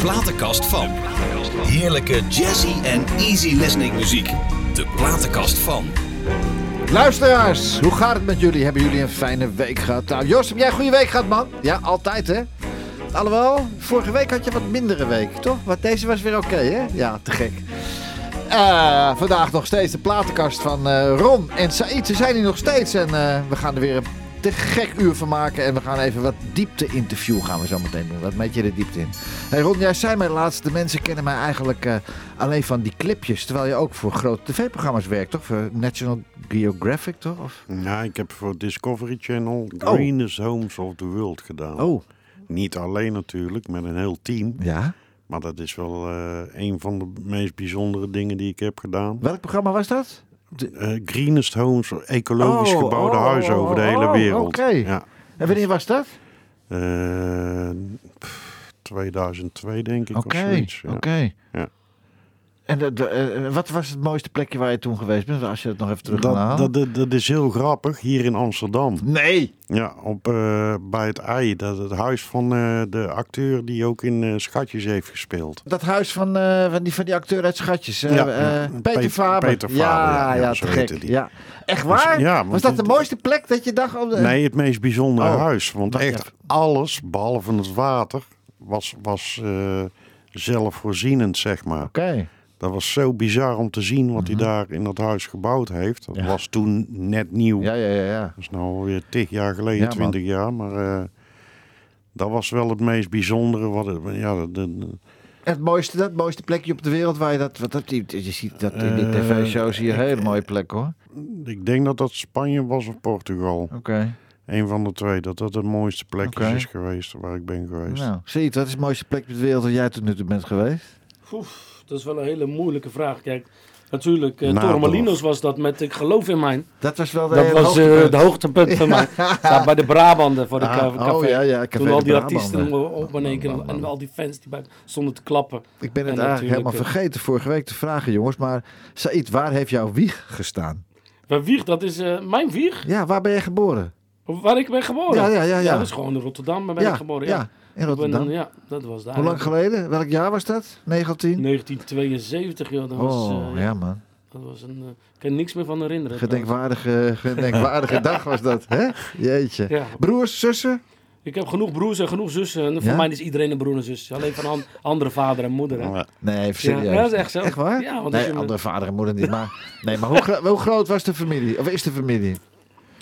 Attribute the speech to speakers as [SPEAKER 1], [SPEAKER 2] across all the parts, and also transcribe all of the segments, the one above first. [SPEAKER 1] platenkast van. Heerlijke jazzy en easy listening muziek. De platenkast van.
[SPEAKER 2] Luisteraars, hoe gaat het met jullie? Hebben jullie een fijne week gehad? Nou, Joost, heb jij een goede week gehad, man? Ja, altijd, hè? Alhoewel, vorige week had je wat mindere week, toch? Maar deze was weer oké, hè? Ja, te gek. Eh, vandaag nog steeds de platenkast van eh, Ron en Said. Ze zijn hier nog steeds en eh, we gaan er weer een te gek uur van maken. En we gaan even wat diepte-interview gaan we zo meteen doen. Wat meet je de diepte in? Hey Ron, jij zei mij laatst, de mensen kennen mij eigenlijk eh, alleen van die clipjes. Terwijl je ook voor grote tv-programma's werkt, toch? Voor National Geographic, toch? Of?
[SPEAKER 3] Ja, ik heb voor Discovery Channel Greenest Homes of the World gedaan.
[SPEAKER 2] Oh,
[SPEAKER 3] Niet alleen natuurlijk, met een heel team.
[SPEAKER 2] ja.
[SPEAKER 3] Maar dat is wel eh, een van de meest bijzondere dingen die ik heb gedaan.
[SPEAKER 2] Welk programma was dat?
[SPEAKER 3] Eh, greenest Homes, ecologisch
[SPEAKER 2] Oh,
[SPEAKER 3] gebouwde
[SPEAKER 2] oh,
[SPEAKER 3] huizen over de hele
[SPEAKER 2] oh,
[SPEAKER 3] wereld.
[SPEAKER 2] oké.
[SPEAKER 3] Ja.
[SPEAKER 2] En wanneer was dat?
[SPEAKER 3] Eh, pff, 2002 denk ik
[SPEAKER 2] Oké,
[SPEAKER 3] of zoiets. Ja.
[SPEAKER 2] oké.
[SPEAKER 3] Ja.
[SPEAKER 2] En de- de, eh, wat was het mooiste plekje waar je toen geweest bent? Als je het nog even terug gaat halen.
[SPEAKER 3] Dat, dat, dat, dat is heel grappig, hier in Amsterdam.
[SPEAKER 2] Nee!
[SPEAKER 3] Ja, op, eh, bij het Ei, dat, het huis van eh, de acteur die ook in eh, Schatjes heeft gespeeld.
[SPEAKER 2] Dat huis van, eh, van, die, van die acteur uit Schatjes. eh,
[SPEAKER 3] Ja,
[SPEAKER 2] eh,
[SPEAKER 3] ja.
[SPEAKER 2] Peter
[SPEAKER 3] Pe-
[SPEAKER 2] Faber.
[SPEAKER 3] Peter Faber,
[SPEAKER 2] ja,
[SPEAKER 3] ja,
[SPEAKER 2] ja,
[SPEAKER 3] ja,
[SPEAKER 2] te
[SPEAKER 3] zo
[SPEAKER 2] gek.
[SPEAKER 3] heette die.
[SPEAKER 2] Ja. Echt waar?
[SPEAKER 3] Dus, ja, want
[SPEAKER 2] was dat de
[SPEAKER 3] dit-
[SPEAKER 2] mooiste plek dat je dacht? Op de...
[SPEAKER 3] Nee, het meest bijzondere
[SPEAKER 2] Oh,
[SPEAKER 3] huis. Want
[SPEAKER 2] wacht
[SPEAKER 3] echt
[SPEAKER 2] even.
[SPEAKER 3] alles, behalve het water, was, was eh, zelfvoorzienend, zeg maar.
[SPEAKER 2] Oké. Mhm.
[SPEAKER 3] Dat was zo bizar om te zien wat hij daar in dat huis gebouwd heeft. Dat
[SPEAKER 2] Ja.
[SPEAKER 3] was toen net nieuw.
[SPEAKER 2] Ja, ja, ja, ja.
[SPEAKER 3] Dat is nou alweer tig jaar
[SPEAKER 2] Ja,
[SPEAKER 3] geleden,
[SPEAKER 2] man.
[SPEAKER 3] twintig jaar. Maar eh, dat was wel het meest bijzondere. Wat het, ja, de, de-
[SPEAKER 2] Het mooiste, dat mooiste plekje op de wereld waar je dat... Wat, dat je, je ziet dat in die
[SPEAKER 3] Eh,
[SPEAKER 2] tv-shows hier hele mooie plek hoor.
[SPEAKER 3] ik denk dat dat Spanje was of Portugal.
[SPEAKER 2] Oké.
[SPEAKER 3] Een van de twee. Dat dat de mooiste plekjes
[SPEAKER 2] Oké.
[SPEAKER 3] is geweest waar ik ben geweest.
[SPEAKER 2] Nou, zie je, dat is het mooiste plekje op de wereld waar jij tot nu toe bent geweest.
[SPEAKER 4] Oef, dat is wel een hele moeilijke vraag. Kijk, natuurlijk, eh,
[SPEAKER 3] Nadorf.
[SPEAKER 4] Torremolinos was dat met Ik geloof in mijn.
[SPEAKER 2] Dat was wel de
[SPEAKER 4] Dat was eh,
[SPEAKER 2] hoogtepunt.
[SPEAKER 4] het hoogtepunt van mij. Daar bij de Brabanten voor de
[SPEAKER 2] Ah,
[SPEAKER 4] ca- café.
[SPEAKER 2] oh ja, ja, café
[SPEAKER 4] Toen al
[SPEAKER 2] de
[SPEAKER 4] die
[SPEAKER 2] Brabanten.
[SPEAKER 4] artiesten eh, op en één keer en al die fans die bij stonden te klappen.
[SPEAKER 2] Ik ben het
[SPEAKER 4] En
[SPEAKER 2] eigenlijk helemaal
[SPEAKER 4] natuurlijk, eh,
[SPEAKER 2] vergeten vorige week te vragen, jongens. Maar Said, waar heeft jouw wieg gestaan?
[SPEAKER 4] Mijn wieg, dat is eh, mijn wieg,
[SPEAKER 2] Ja, waar ben je geboren?
[SPEAKER 4] waar ik ben geboren.
[SPEAKER 2] Ja, ja, ja, ja.
[SPEAKER 4] Oh, dat is gewoon in Rotterdam, daar ben ik geboren. Ja, Ik
[SPEAKER 2] in
[SPEAKER 4] ben
[SPEAKER 2] Rotterdam.
[SPEAKER 4] dan- ja, dat was daar.
[SPEAKER 2] Hoe lang geleden? Welk jaar was dat? 19?
[SPEAKER 4] 1972, joh. Dat, was,
[SPEAKER 2] oh,
[SPEAKER 4] eh,
[SPEAKER 2] ja man.
[SPEAKER 4] dat was een... eh, ik kan niks meer van herinneren.
[SPEAKER 2] Gedenkwaardige, gedenkwaardige dag was dat, hè? Jeetje.
[SPEAKER 4] Ja.
[SPEAKER 2] eh, Broers, zussen?
[SPEAKER 4] Ik heb genoeg broers en genoeg zussen. En
[SPEAKER 2] Ja?
[SPEAKER 4] Voor mij is iedereen een broer en zus. Alleen van an- andere vader en moeder. Hè?
[SPEAKER 3] Ja.
[SPEAKER 2] Nee, even
[SPEAKER 4] Ja,
[SPEAKER 2] serieus.
[SPEAKER 4] dat is echt zo.
[SPEAKER 2] Echt waar?
[SPEAKER 4] Ja, want als
[SPEAKER 2] nee,
[SPEAKER 4] je-
[SPEAKER 2] andere vader en moeder niet. Maar, nee, maar hoe, gro- hoe groot was de familie? Of is de familie?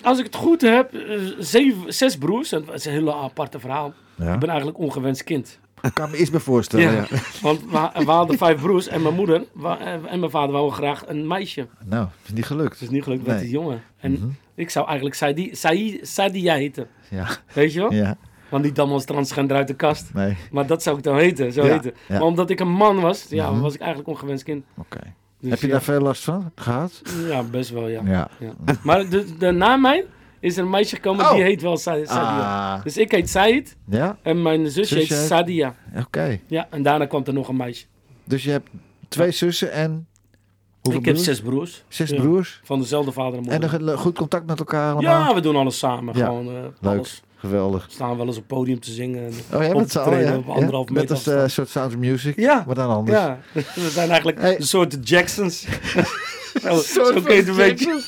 [SPEAKER 4] Als ik het goed heb, eh, zeven, zes broers. En Dat is een hele aparte verhaal.
[SPEAKER 2] Ja.
[SPEAKER 4] Ik ben eigenlijk ongewenst kind.
[SPEAKER 2] Ik kan me iets bij voorstellen. Ja.
[SPEAKER 4] Want we, we hadden vijf broers en mijn moeder wa- eh, en mijn vader wouden graag een meisje. Het
[SPEAKER 2] Nou, is niet gelukt.
[SPEAKER 4] is niet gelukt met
[SPEAKER 2] Nee. Mhm.
[SPEAKER 4] die jongen. En ik zou eigenlijk Saidi- Sai- Sadia heten.
[SPEAKER 2] Ja,
[SPEAKER 4] Weet je wel?
[SPEAKER 2] ja.
[SPEAKER 4] Want die dam was transgender uit de kast.
[SPEAKER 2] Nee,
[SPEAKER 4] Maar dat zou ik dan heten. Zo
[SPEAKER 2] Ja,
[SPEAKER 4] heten.
[SPEAKER 2] ja. Mhm.
[SPEAKER 4] Maar omdat ik een man was, ja, was ik eigenlijk ongewenst kind.
[SPEAKER 2] oké.
[SPEAKER 4] Dus
[SPEAKER 2] Heb je
[SPEAKER 4] ja,
[SPEAKER 2] daar veel last van gehad?
[SPEAKER 4] Ja, best wel, ja.
[SPEAKER 2] Ja.
[SPEAKER 4] Ja. Maar de, de, na mij is er een meisje gekomen
[SPEAKER 2] Oh.
[SPEAKER 4] die heet wel Sa- Sadia.
[SPEAKER 2] Ah.
[SPEAKER 4] Dus ik heet Said
[SPEAKER 2] Ja,
[SPEAKER 4] en mijn zusje heet
[SPEAKER 2] Zusje heet-
[SPEAKER 4] Sadia.
[SPEAKER 2] oké.
[SPEAKER 4] Ja, en daarna kwam er nog een meisje.
[SPEAKER 2] Dus je hebt twee zussen en hoeveel
[SPEAKER 4] ik heb
[SPEAKER 2] broers?
[SPEAKER 4] zes broers.
[SPEAKER 2] Zes
[SPEAKER 4] Ja.
[SPEAKER 2] broers.
[SPEAKER 4] Van dezelfde vader en
[SPEAKER 2] En
[SPEAKER 4] moeder.
[SPEAKER 2] nog een le- goed contact met elkaar allemaal.
[SPEAKER 4] ja, we doen alles samen.
[SPEAKER 2] Ja.
[SPEAKER 4] Gewoon eh,
[SPEAKER 2] Leuk,
[SPEAKER 4] alles.
[SPEAKER 2] geweldig.
[SPEAKER 4] We staan wel eens op het podium te zingen. En
[SPEAKER 2] Oh, jij
[SPEAKER 4] op
[SPEAKER 2] bent
[SPEAKER 4] te
[SPEAKER 2] zo,
[SPEAKER 4] treden
[SPEAKER 2] ja?
[SPEAKER 4] op anderhalf
[SPEAKER 2] ja?
[SPEAKER 4] meter
[SPEAKER 2] Net als eh,
[SPEAKER 4] afstand.
[SPEAKER 2] soort Sound of Music,
[SPEAKER 4] Ja.
[SPEAKER 2] maar dan anders.
[SPEAKER 4] Ja, we zijn eigenlijk
[SPEAKER 2] Hey.
[SPEAKER 4] een soort Jacksons. zo, zo
[SPEAKER 2] Soort
[SPEAKER 4] kun
[SPEAKER 2] van
[SPEAKER 4] je het Oh, een beetje...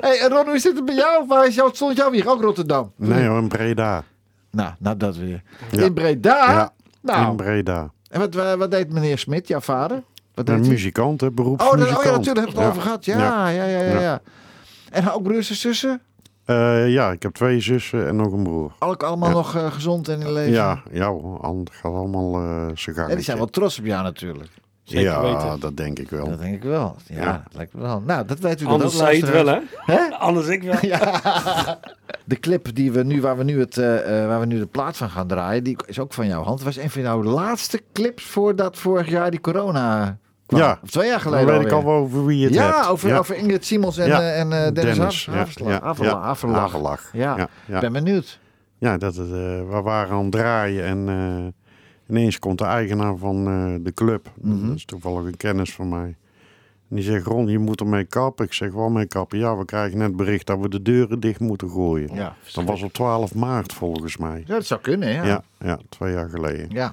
[SPEAKER 2] hey, en Ron, hoe zit het bij jou? Waar is jou, stond jouw wieg? Ook Rotterdam?
[SPEAKER 3] Nee hoor, in Breda.
[SPEAKER 2] Nou, nou dat weer.
[SPEAKER 3] Ja.
[SPEAKER 2] In Breda?
[SPEAKER 3] Ja, in
[SPEAKER 2] Nou,
[SPEAKER 3] Breda.
[SPEAKER 2] en wat, eh, wat deed meneer Smit, jouw vader? Wat
[SPEAKER 3] Een
[SPEAKER 2] hij?
[SPEAKER 3] muzikant, hè,
[SPEAKER 2] Oh, dat,
[SPEAKER 3] beroepsmuzikant.
[SPEAKER 2] oh ja, natuurlijk, heb ik het over gehad. Ja, ja, ja, ja. ja,
[SPEAKER 3] Ja.
[SPEAKER 2] En ook broers en zussen?
[SPEAKER 3] Eh, ja, ik heb twee zussen en nog een broer.
[SPEAKER 2] Ook allemaal nog eh, gezond en in leven?
[SPEAKER 3] Ja, ja hoor, al- het gaat allemaal eh zijn
[SPEAKER 2] En die zijn wel trots op jou natuurlijk.
[SPEAKER 4] Zeker
[SPEAKER 3] ja,
[SPEAKER 4] weten.
[SPEAKER 3] dat denk ik wel.
[SPEAKER 2] Dat denk ik wel. Ja,
[SPEAKER 3] Ja.
[SPEAKER 2] dat lijkt me wel. Nou, dat weten jullie
[SPEAKER 4] Anders
[SPEAKER 2] ook,
[SPEAKER 4] zei je het wel,
[SPEAKER 2] luisteraars.
[SPEAKER 4] hè? Anders ik wel.
[SPEAKER 2] De clip die we nu, waar, we nu het, eh, eh, waar we nu de plaat van gaan draaien, die is ook van jouw hand. was een van jouw laatste clips voordat vorig jaar die corona kwam.
[SPEAKER 3] Ja.
[SPEAKER 2] Of twee jaar
[SPEAKER 3] Dan
[SPEAKER 2] geleden
[SPEAKER 3] weet ik al
[SPEAKER 2] alweer.
[SPEAKER 3] wel over wie je het hebt.
[SPEAKER 2] Ja, over, over Ingrid Simons en,
[SPEAKER 3] Ja.
[SPEAKER 2] eh, en eh, Dennis, Dennis
[SPEAKER 3] ja, ja, ja. Haverlag.
[SPEAKER 2] Ja.
[SPEAKER 3] ja,
[SPEAKER 2] Ik
[SPEAKER 3] ja.
[SPEAKER 2] ben benieuwd.
[SPEAKER 3] Ja, dat, het, eh, we waren aan het draaien en eh, ineens komt de eigenaar van eh, de club.
[SPEAKER 2] Mhm.
[SPEAKER 3] Dat is toevallig een kennis van mij. En die zegt, Ron, je moet ermee kappen. Ik zeg, wel mee kappen? Ja, we krijgen net bericht dat we de deuren dicht moeten gooien.
[SPEAKER 2] Ja,
[SPEAKER 3] dat was op 12 maart volgens mij.
[SPEAKER 2] Ja, dat zou kunnen, ja.
[SPEAKER 3] Ja, ja, twee jaar geleden.
[SPEAKER 2] Ja.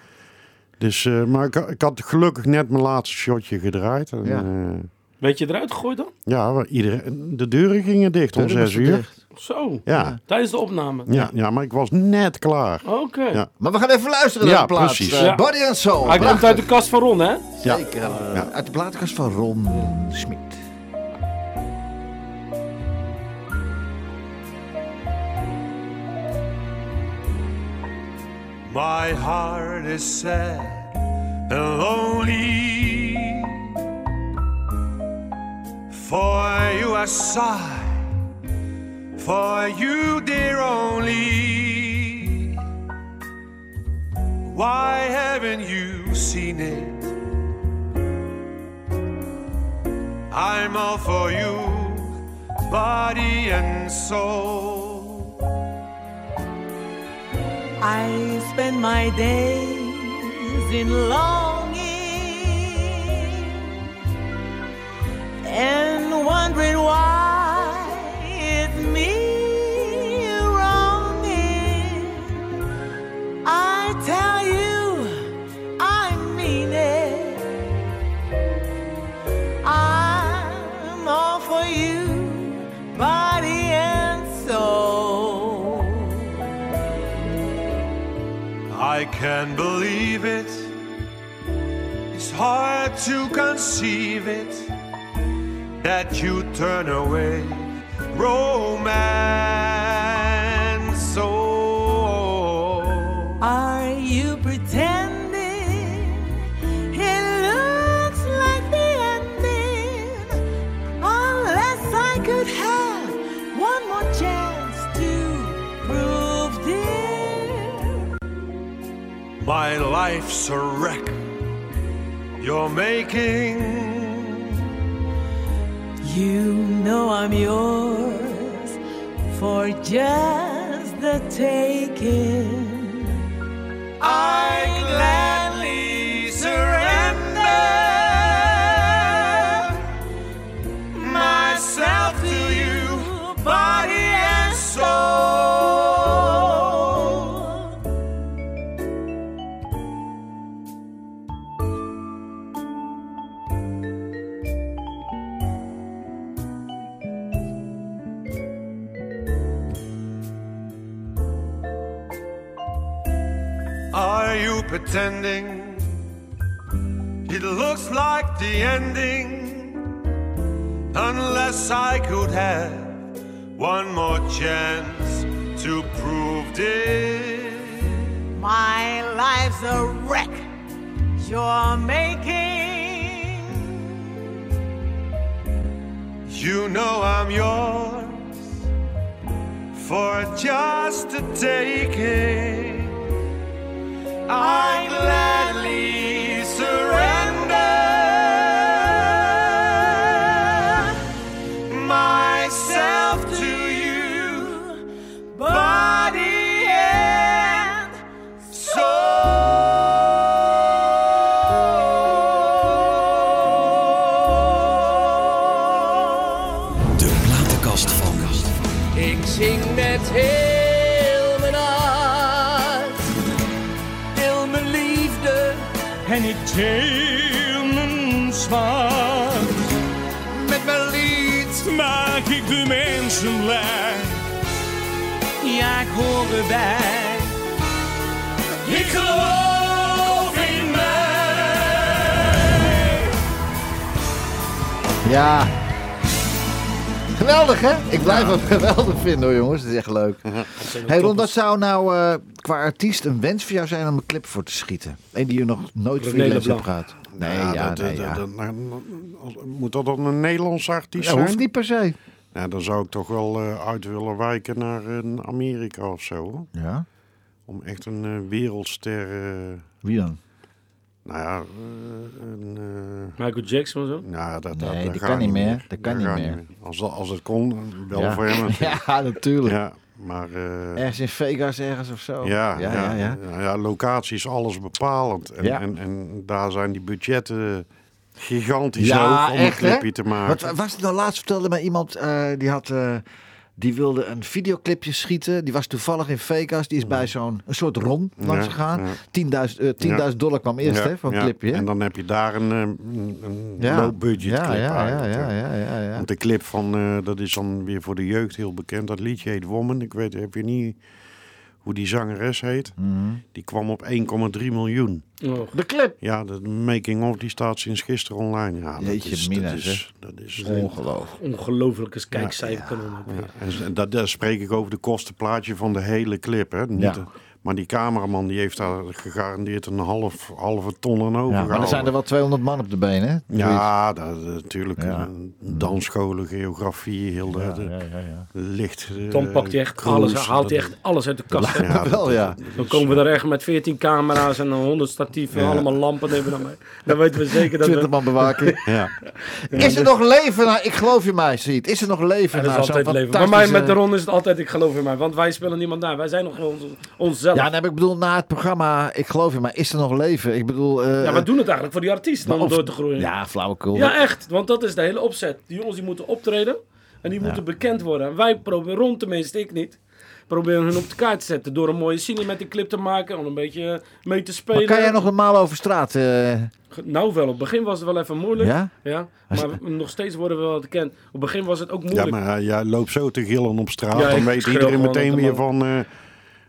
[SPEAKER 3] Dus, eh, maar ik, ik had gelukkig net mijn laatste shotje gedraaid. En, eh,
[SPEAKER 2] Ja.
[SPEAKER 3] ja,
[SPEAKER 4] Weet je eruit gegooid dan?
[SPEAKER 3] ja waar iedereen, de deuren gingen dicht om
[SPEAKER 2] Deuren
[SPEAKER 3] zes
[SPEAKER 2] moesten
[SPEAKER 3] uur.
[SPEAKER 2] dicht.
[SPEAKER 4] Zo,
[SPEAKER 3] Ja.
[SPEAKER 4] tijdens de opname.
[SPEAKER 3] Ja, ja, maar ik was net klaar.
[SPEAKER 4] Oké.
[SPEAKER 3] Ja.
[SPEAKER 2] Maar we gaan even luisteren
[SPEAKER 3] Ja,
[SPEAKER 2] naar de plaats.
[SPEAKER 3] precies.
[SPEAKER 2] Eh,
[SPEAKER 4] Ja.
[SPEAKER 2] Body and
[SPEAKER 4] Hij
[SPEAKER 2] Soul.
[SPEAKER 4] komt
[SPEAKER 2] Prachtig.
[SPEAKER 4] uit de kast van Ron, hè?
[SPEAKER 3] Ja.
[SPEAKER 2] Zeker. eh,
[SPEAKER 3] Ja.
[SPEAKER 2] Uit de platenkast van Ron Smit.
[SPEAKER 5] My heart is sad and lonely. For you I sigh, for you, dear only. Why haven't you seen it? I'm all for you, body and soul.
[SPEAKER 6] I spend my days in longing and wondering why it's me wronging. I tell you, I mean it. I'm all for you, body and soul.
[SPEAKER 5] I can't believe it. It's hard to conceive it that you turn away romance. Oh,
[SPEAKER 6] Are you pretending? It looks like the ending. Unless I could have one more chance to prove, dear.
[SPEAKER 5] my life's a wreck you're making.
[SPEAKER 6] You know I'm yours for just the taking.
[SPEAKER 5] I gladly surrender myself to you, body and soul. Are you pretending? It looks like the ending. Unless I could have one more chance to prove this.
[SPEAKER 6] My life's a wreck you're making.
[SPEAKER 5] You know I'm yours for just the taking. I gladly surrender myself to you, body and soul.
[SPEAKER 1] De platenkast van.
[SPEAKER 7] Ik zing met heel mijn hart, heel mijn liefde en ik deel mijn zwaard. Met mijn lied maak ik de mensen blij, ja ik hoor erbij. Ik geloof in mij.
[SPEAKER 2] Ja. Geweldig, hè? Ik blijf het geweldig vinden, hoor, jongens. Het is echt leuk. hey, Ron, dat zou nou eh, qua artiest een wens voor jou zijn om een clip voor te schieten? Eén die je nog nooit
[SPEAKER 4] René
[SPEAKER 2] freelance hebt
[SPEAKER 4] Leblanc.
[SPEAKER 2] gehad. Nee, ja,
[SPEAKER 3] Ja, dat-
[SPEAKER 2] nee,
[SPEAKER 3] dat-
[SPEAKER 2] ja.
[SPEAKER 3] dat- nou, moet dat dan een Nederlandse artiest
[SPEAKER 2] Ja,
[SPEAKER 3] zijn?
[SPEAKER 2] hoeft niet per se.
[SPEAKER 3] Nou, dan zou ik toch wel eh, uit willen wijken naar een Amerika of zo. hoor.
[SPEAKER 2] Ja?
[SPEAKER 3] Om echt een eh, wereldster... eh,
[SPEAKER 2] Wie dan?
[SPEAKER 3] nou ja, eh, een... eh,
[SPEAKER 4] Michael Jackson en zo.
[SPEAKER 3] nou, dat,
[SPEAKER 2] Nee,
[SPEAKER 3] dat, dat
[SPEAKER 2] die
[SPEAKER 3] gaat
[SPEAKER 2] kan niet meer. Dat kan niet
[SPEAKER 3] gaat
[SPEAKER 2] meer.
[SPEAKER 3] Als, dat- als het kon, wel
[SPEAKER 2] ja.
[SPEAKER 3] voor hem. natuurlijk.
[SPEAKER 2] ja, natuurlijk.
[SPEAKER 3] Ja, maar... eh,
[SPEAKER 2] Ergens in Vegas, ergens of zo.
[SPEAKER 3] ja,
[SPEAKER 2] ja, ja. ja.
[SPEAKER 3] ja, ja, locatie is alles bepalend. En,
[SPEAKER 2] Ja.
[SPEAKER 3] en, en daar zijn die budgetten gigantisch
[SPEAKER 2] Ja,
[SPEAKER 3] hoog om
[SPEAKER 2] echt,
[SPEAKER 3] een clipje
[SPEAKER 2] hè?
[SPEAKER 3] te
[SPEAKER 2] Wat
[SPEAKER 3] maken.
[SPEAKER 2] was het nou laatst vertelde mij iemand eh, die had eh, Die wilde een videoclipje schieten. Die was toevallig in Vegas. Die is bij zo'n een soort rom langs
[SPEAKER 3] Ja,
[SPEAKER 2] gegaan.
[SPEAKER 3] ja.
[SPEAKER 2] 10.000 eh, 10.000 dollar kwam eerst
[SPEAKER 3] Ja,
[SPEAKER 2] hè, voor een
[SPEAKER 3] ja.
[SPEAKER 2] clipje.
[SPEAKER 3] En dan heb je daar een, eh, een- een
[SPEAKER 2] Ja.
[SPEAKER 3] low-budget
[SPEAKER 2] ja,
[SPEAKER 3] clip
[SPEAKER 2] ja, ja,
[SPEAKER 3] eigenlijk,
[SPEAKER 2] ja,
[SPEAKER 3] hè.
[SPEAKER 2] ja, ja, ja.
[SPEAKER 3] Want de clip van, eh, dat is dan weer voor de jeugd heel bekend. Dat liedje heet Woman. Ik weet heb je niet hoe die zangeres heet. Die kwam op 1,3 miljoen.
[SPEAKER 4] Oh.
[SPEAKER 2] Mhm. De clip.
[SPEAKER 3] Ja, de making of die staat sinds gisteren online. Ja, dat
[SPEAKER 2] Jeetje
[SPEAKER 3] is,
[SPEAKER 2] mina,
[SPEAKER 3] dat is, dat is
[SPEAKER 2] Ongelooflijk.
[SPEAKER 4] Ongelooflijke kijkcijfer kan dan ook weer.
[SPEAKER 3] En en dat, daar spreek ik over de kostenplaatje van de hele clip. Hè? Niet
[SPEAKER 2] Ja.
[SPEAKER 3] de- maar die cameraman die heeft daar gegarandeerd een half, halve ton aan
[SPEAKER 2] Ja, maar er zijn er
[SPEAKER 3] overgehouden.
[SPEAKER 2] wel 200 man op de been, hè?
[SPEAKER 3] Ja, dat, natuurlijk.
[SPEAKER 2] Ja.
[SPEAKER 3] eh, Dansscholen, geografie, heel de, de-
[SPEAKER 2] ja, ja, ja.
[SPEAKER 3] licht. eh,
[SPEAKER 4] Dan pakt hij echt
[SPEAKER 3] cruise,
[SPEAKER 4] alles, haalt hij
[SPEAKER 3] dat-
[SPEAKER 4] echt alles uit de kast. hè.
[SPEAKER 3] Ja, dat-
[SPEAKER 2] Wel, ja.
[SPEAKER 3] dat
[SPEAKER 4] Dan
[SPEAKER 3] is-
[SPEAKER 4] komen we er echt met 14 camera's en dan 100 statieven,
[SPEAKER 3] Ja.
[SPEAKER 4] allemaal lampen nemen we dan mee. Dan weten we zeker dat
[SPEAKER 2] 20
[SPEAKER 4] we...
[SPEAKER 2] man bewaking.
[SPEAKER 3] Ja,
[SPEAKER 2] Is er nog leven? Nou, ik geloof je mij, Siet. Is er nog leven?
[SPEAKER 4] Er is
[SPEAKER 2] na zo'n
[SPEAKER 4] altijd leven. Bij mij met de
[SPEAKER 3] eh,
[SPEAKER 2] fantastische-
[SPEAKER 4] Ron is het altijd, ik geloof in mij. Want wij spelen niemand daar. Wij zijn nog gewoon ons, onszelf.
[SPEAKER 2] Ja,
[SPEAKER 4] Ja,
[SPEAKER 2] nee, maar ik bedoel, na het programma, ik geloof je mij, is er nog leven? Ik bedoel... eh,
[SPEAKER 4] we doen het eigenlijk voor die artiesten om
[SPEAKER 2] of-
[SPEAKER 4] door te groeien.
[SPEAKER 2] Ja, flauwekul.
[SPEAKER 4] Ja, echt. Want dat is de hele opzet. Die jongens die moeten optreden en die moeten bekend worden. En wij proberen, rond tenminste, ik niet, proberen hun op de kaart te zetten. Door een mooie scene met die clip te maken, om een beetje mee te spelen.
[SPEAKER 2] maar kan jij nog normaal over straat? eh,
[SPEAKER 4] Nou wel, op het begin was het wel even moeilijk.
[SPEAKER 2] ja?
[SPEAKER 4] Ja, maar we- nog steeds worden we wel bekend. Op het begin was het ook
[SPEAKER 3] ja,
[SPEAKER 4] moeilijk.
[SPEAKER 3] maar eh, jij loopt zo te gillen op straat.
[SPEAKER 4] Ja,
[SPEAKER 3] dan
[SPEAKER 4] ik
[SPEAKER 3] weet
[SPEAKER 4] schreeuw
[SPEAKER 3] iedereen
[SPEAKER 4] gewoon
[SPEAKER 3] meteen
[SPEAKER 4] op de
[SPEAKER 3] weer
[SPEAKER 4] man.
[SPEAKER 3] van... eh,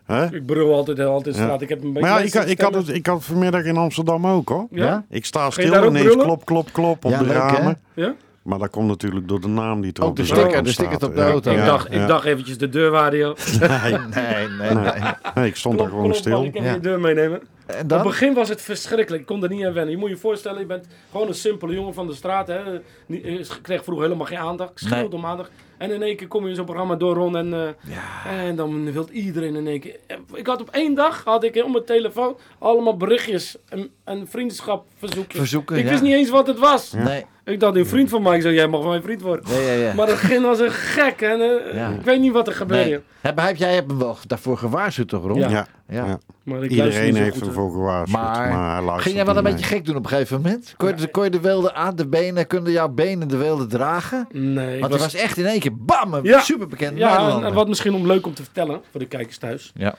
[SPEAKER 3] hè?
[SPEAKER 4] Ik brul altijd, altijd
[SPEAKER 3] Ja.
[SPEAKER 4] straat. Ik heb een beetje
[SPEAKER 3] Maar ja, ik,
[SPEAKER 4] mensen
[SPEAKER 3] ik, had
[SPEAKER 4] stemmen.
[SPEAKER 3] het, ik had het vanmiddag in Amsterdam ook hoor.
[SPEAKER 2] Ja?
[SPEAKER 4] Ja?
[SPEAKER 3] Ik sta
[SPEAKER 4] Ga je daar
[SPEAKER 3] stil
[SPEAKER 4] ook
[SPEAKER 3] ineens
[SPEAKER 4] brullen?
[SPEAKER 3] klop, klop, klop op
[SPEAKER 2] Ja,
[SPEAKER 3] de
[SPEAKER 2] leuk, hè?
[SPEAKER 3] ramen.
[SPEAKER 4] ja?
[SPEAKER 3] Maar dat komt natuurlijk door de naam die er
[SPEAKER 2] Ook
[SPEAKER 3] op de
[SPEAKER 2] de
[SPEAKER 3] zijkant
[SPEAKER 2] sticker, de
[SPEAKER 3] staat.
[SPEAKER 2] sticker op de
[SPEAKER 3] Ja,
[SPEAKER 2] auto.
[SPEAKER 4] Ik,
[SPEAKER 3] ja,
[SPEAKER 4] dacht,
[SPEAKER 3] ja.
[SPEAKER 4] ik dacht eventjes de deurwaardio.
[SPEAKER 2] Nee, nee, nee.
[SPEAKER 3] Nee, ik stond daar
[SPEAKER 4] Klop, klop,
[SPEAKER 3] gewoon
[SPEAKER 4] man,
[SPEAKER 3] stil.
[SPEAKER 4] Ik kan
[SPEAKER 2] Ja.
[SPEAKER 4] je deur meenemen.
[SPEAKER 2] En
[SPEAKER 4] Op
[SPEAKER 2] dan?
[SPEAKER 4] het begin was het verschrikkelijk. Ik kon er niet aan wennen. Je moet je voorstellen, je bent gewoon een simpele jongen van de straat. Hè. Niet- Ik kreeg vroeger helemaal geen aandacht. Ik schreeuwde
[SPEAKER 2] Nee.
[SPEAKER 4] om aandacht. En in één keer kom je in zo'n programma door rond en, eh, en dan wil iedereen in één keer. Ik had op één dag had ik op mijn telefoon allemaal berichtjes en, en vriendschapverzoekjes.
[SPEAKER 2] Verzoeken,
[SPEAKER 4] ik
[SPEAKER 2] ja.
[SPEAKER 4] wist niet eens wat het was.
[SPEAKER 2] Nee.
[SPEAKER 4] Ik dacht, een vriend van mij, ik zei, jij mag mijn vriend worden.
[SPEAKER 2] Nee, ja, ja.
[SPEAKER 4] Maar dat ging als een gek. En, eh,
[SPEAKER 2] Ja.
[SPEAKER 4] Ik weet niet wat er gebeurde.
[SPEAKER 2] Nee. Heb, heb, jij hebt hem wel daarvoor gewaarschuwd, toch, Ron?
[SPEAKER 4] Ja.
[SPEAKER 3] Ja, ja.
[SPEAKER 2] Ja.
[SPEAKER 4] Maar ik luister niet
[SPEAKER 3] Iedereen
[SPEAKER 4] zo
[SPEAKER 3] heeft
[SPEAKER 4] goed, hè.
[SPEAKER 3] ervoor gewaarschuwd.
[SPEAKER 2] Maar-
[SPEAKER 3] Maar, hij luistert
[SPEAKER 2] Ging jij wel een
[SPEAKER 3] niet
[SPEAKER 2] beetje gek doen op een gegeven moment? Kon je, de- kon je de welden aan, de benen, konden jouw benen de welden dragen?
[SPEAKER 4] Nee, ik
[SPEAKER 2] Want het was echt in één keer, bam, een
[SPEAKER 4] Ja.
[SPEAKER 2] superbekend
[SPEAKER 4] Ja, en-
[SPEAKER 2] Nederlander.
[SPEAKER 4] en wat misschien om leuk om te vertellen voor de kijkers thuis.
[SPEAKER 2] Ja.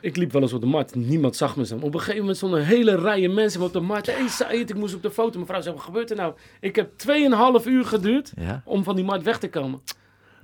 [SPEAKER 4] Ik liep wel eens op de markt. Niemand zag me zo. Op een gegeven moment stonden een hele rijen mensen op de markt. Hé, Said, ik moest op de foto. Mevrouw zei, wat gebeurt er nou? Ik heb 2,5 uur geduurd
[SPEAKER 2] Ja.
[SPEAKER 4] om van die markt weg te komen.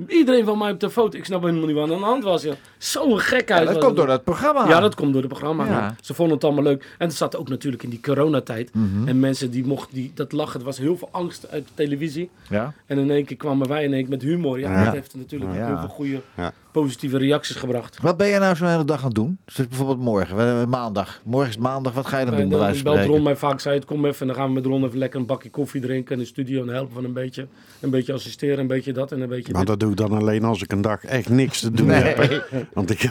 [SPEAKER 4] Iedereen van mij op de foto. Ik snap helemaal niet wat aan de hand was. joh. Zo'n gekhuis.
[SPEAKER 2] Ja, dat
[SPEAKER 4] was
[SPEAKER 2] komt
[SPEAKER 4] het.
[SPEAKER 2] door dat programma.
[SPEAKER 4] Ja, dat komt door het programma.
[SPEAKER 2] Ja.
[SPEAKER 4] Ze vonden het allemaal leuk. En het zat ook natuurlijk in die coronatijd.
[SPEAKER 2] Mhm.
[SPEAKER 4] En mensen die mochten die, dat lachen. Er was heel veel angst uit de televisie.
[SPEAKER 2] Ja.
[SPEAKER 4] En in één keer kwamen wij in één keer met humor. Ja,
[SPEAKER 2] Ja.
[SPEAKER 4] dat heeft natuurlijk
[SPEAKER 2] Ja.
[SPEAKER 4] heel veel goede
[SPEAKER 3] Ja.
[SPEAKER 4] positieve reacties gebracht.
[SPEAKER 2] Wat ben je nou zo'n hele dag aan het doen? Dus bijvoorbeeld morgen, eh, maandag. Morgen is het maandag, wat ga je dan doen?
[SPEAKER 4] En
[SPEAKER 2] bij
[SPEAKER 4] Eh, dan
[SPEAKER 2] wijze van
[SPEAKER 4] belt Ron
[SPEAKER 2] spreken?
[SPEAKER 4] mij vaak, zei het, kom even en dan gaan we met Ron even lekker een bakje koffie drinken in de studio en helpen van een beetje. Een beetje assisteren, een beetje dat en een beetje
[SPEAKER 3] mee. Maar
[SPEAKER 4] dit.
[SPEAKER 3] dat doe ik dan alleen als ik een dag echt niks te doen heb. hè. Want ik,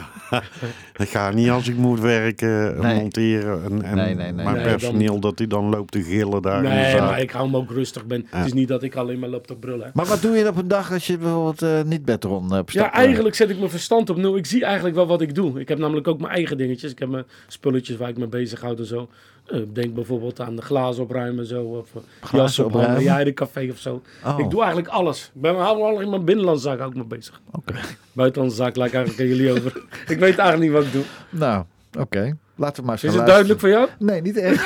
[SPEAKER 3] ik ga niet als ik moet werken,
[SPEAKER 2] Nee.
[SPEAKER 3] monteren. En, en
[SPEAKER 2] Nee, nee, nee.
[SPEAKER 3] mijn
[SPEAKER 4] Nee, dan-
[SPEAKER 3] personeel dat hij dan loopt te gillen daar in de
[SPEAKER 4] Nee,
[SPEAKER 3] zaal.
[SPEAKER 4] maar ik hou hem ook rustig. Ben. Het is niet dat ik alleen maar loop te brullen. hè.
[SPEAKER 2] Maar wat doe je op een dag als je bijvoorbeeld eh, niet bed Ron eh, op stap
[SPEAKER 4] Ja, eigenlijk zet ik mijn verstand op nul. Ik zie eigenlijk wel wat ik doe. Ik heb namelijk ook mijn eigen dingetjes. Ik heb mijn spulletjes waar ik mee bezighoud en zo. Eh, denk bijvoorbeeld aan de glazen opruimen en zo. Of eh,
[SPEAKER 2] Glazen
[SPEAKER 4] jassen opruimen.
[SPEAKER 2] opruimen?
[SPEAKER 4] Ja, in een café of zo.
[SPEAKER 2] Oh.
[SPEAKER 4] Ik doe eigenlijk alles. Ik ben allemaal in mijn binnenlandse zaak ook mee bezig.
[SPEAKER 2] Oké.
[SPEAKER 4] Buitenlandse zaak laat ik eigenlijk aan jullie over. Ik weet eigenlijk niet wat ik doe.
[SPEAKER 2] Nou, oké. Laten we maar eens
[SPEAKER 4] Is
[SPEAKER 2] gaan
[SPEAKER 4] het
[SPEAKER 2] luisteren.
[SPEAKER 4] duidelijk voor jou?
[SPEAKER 2] Nee, niet echt.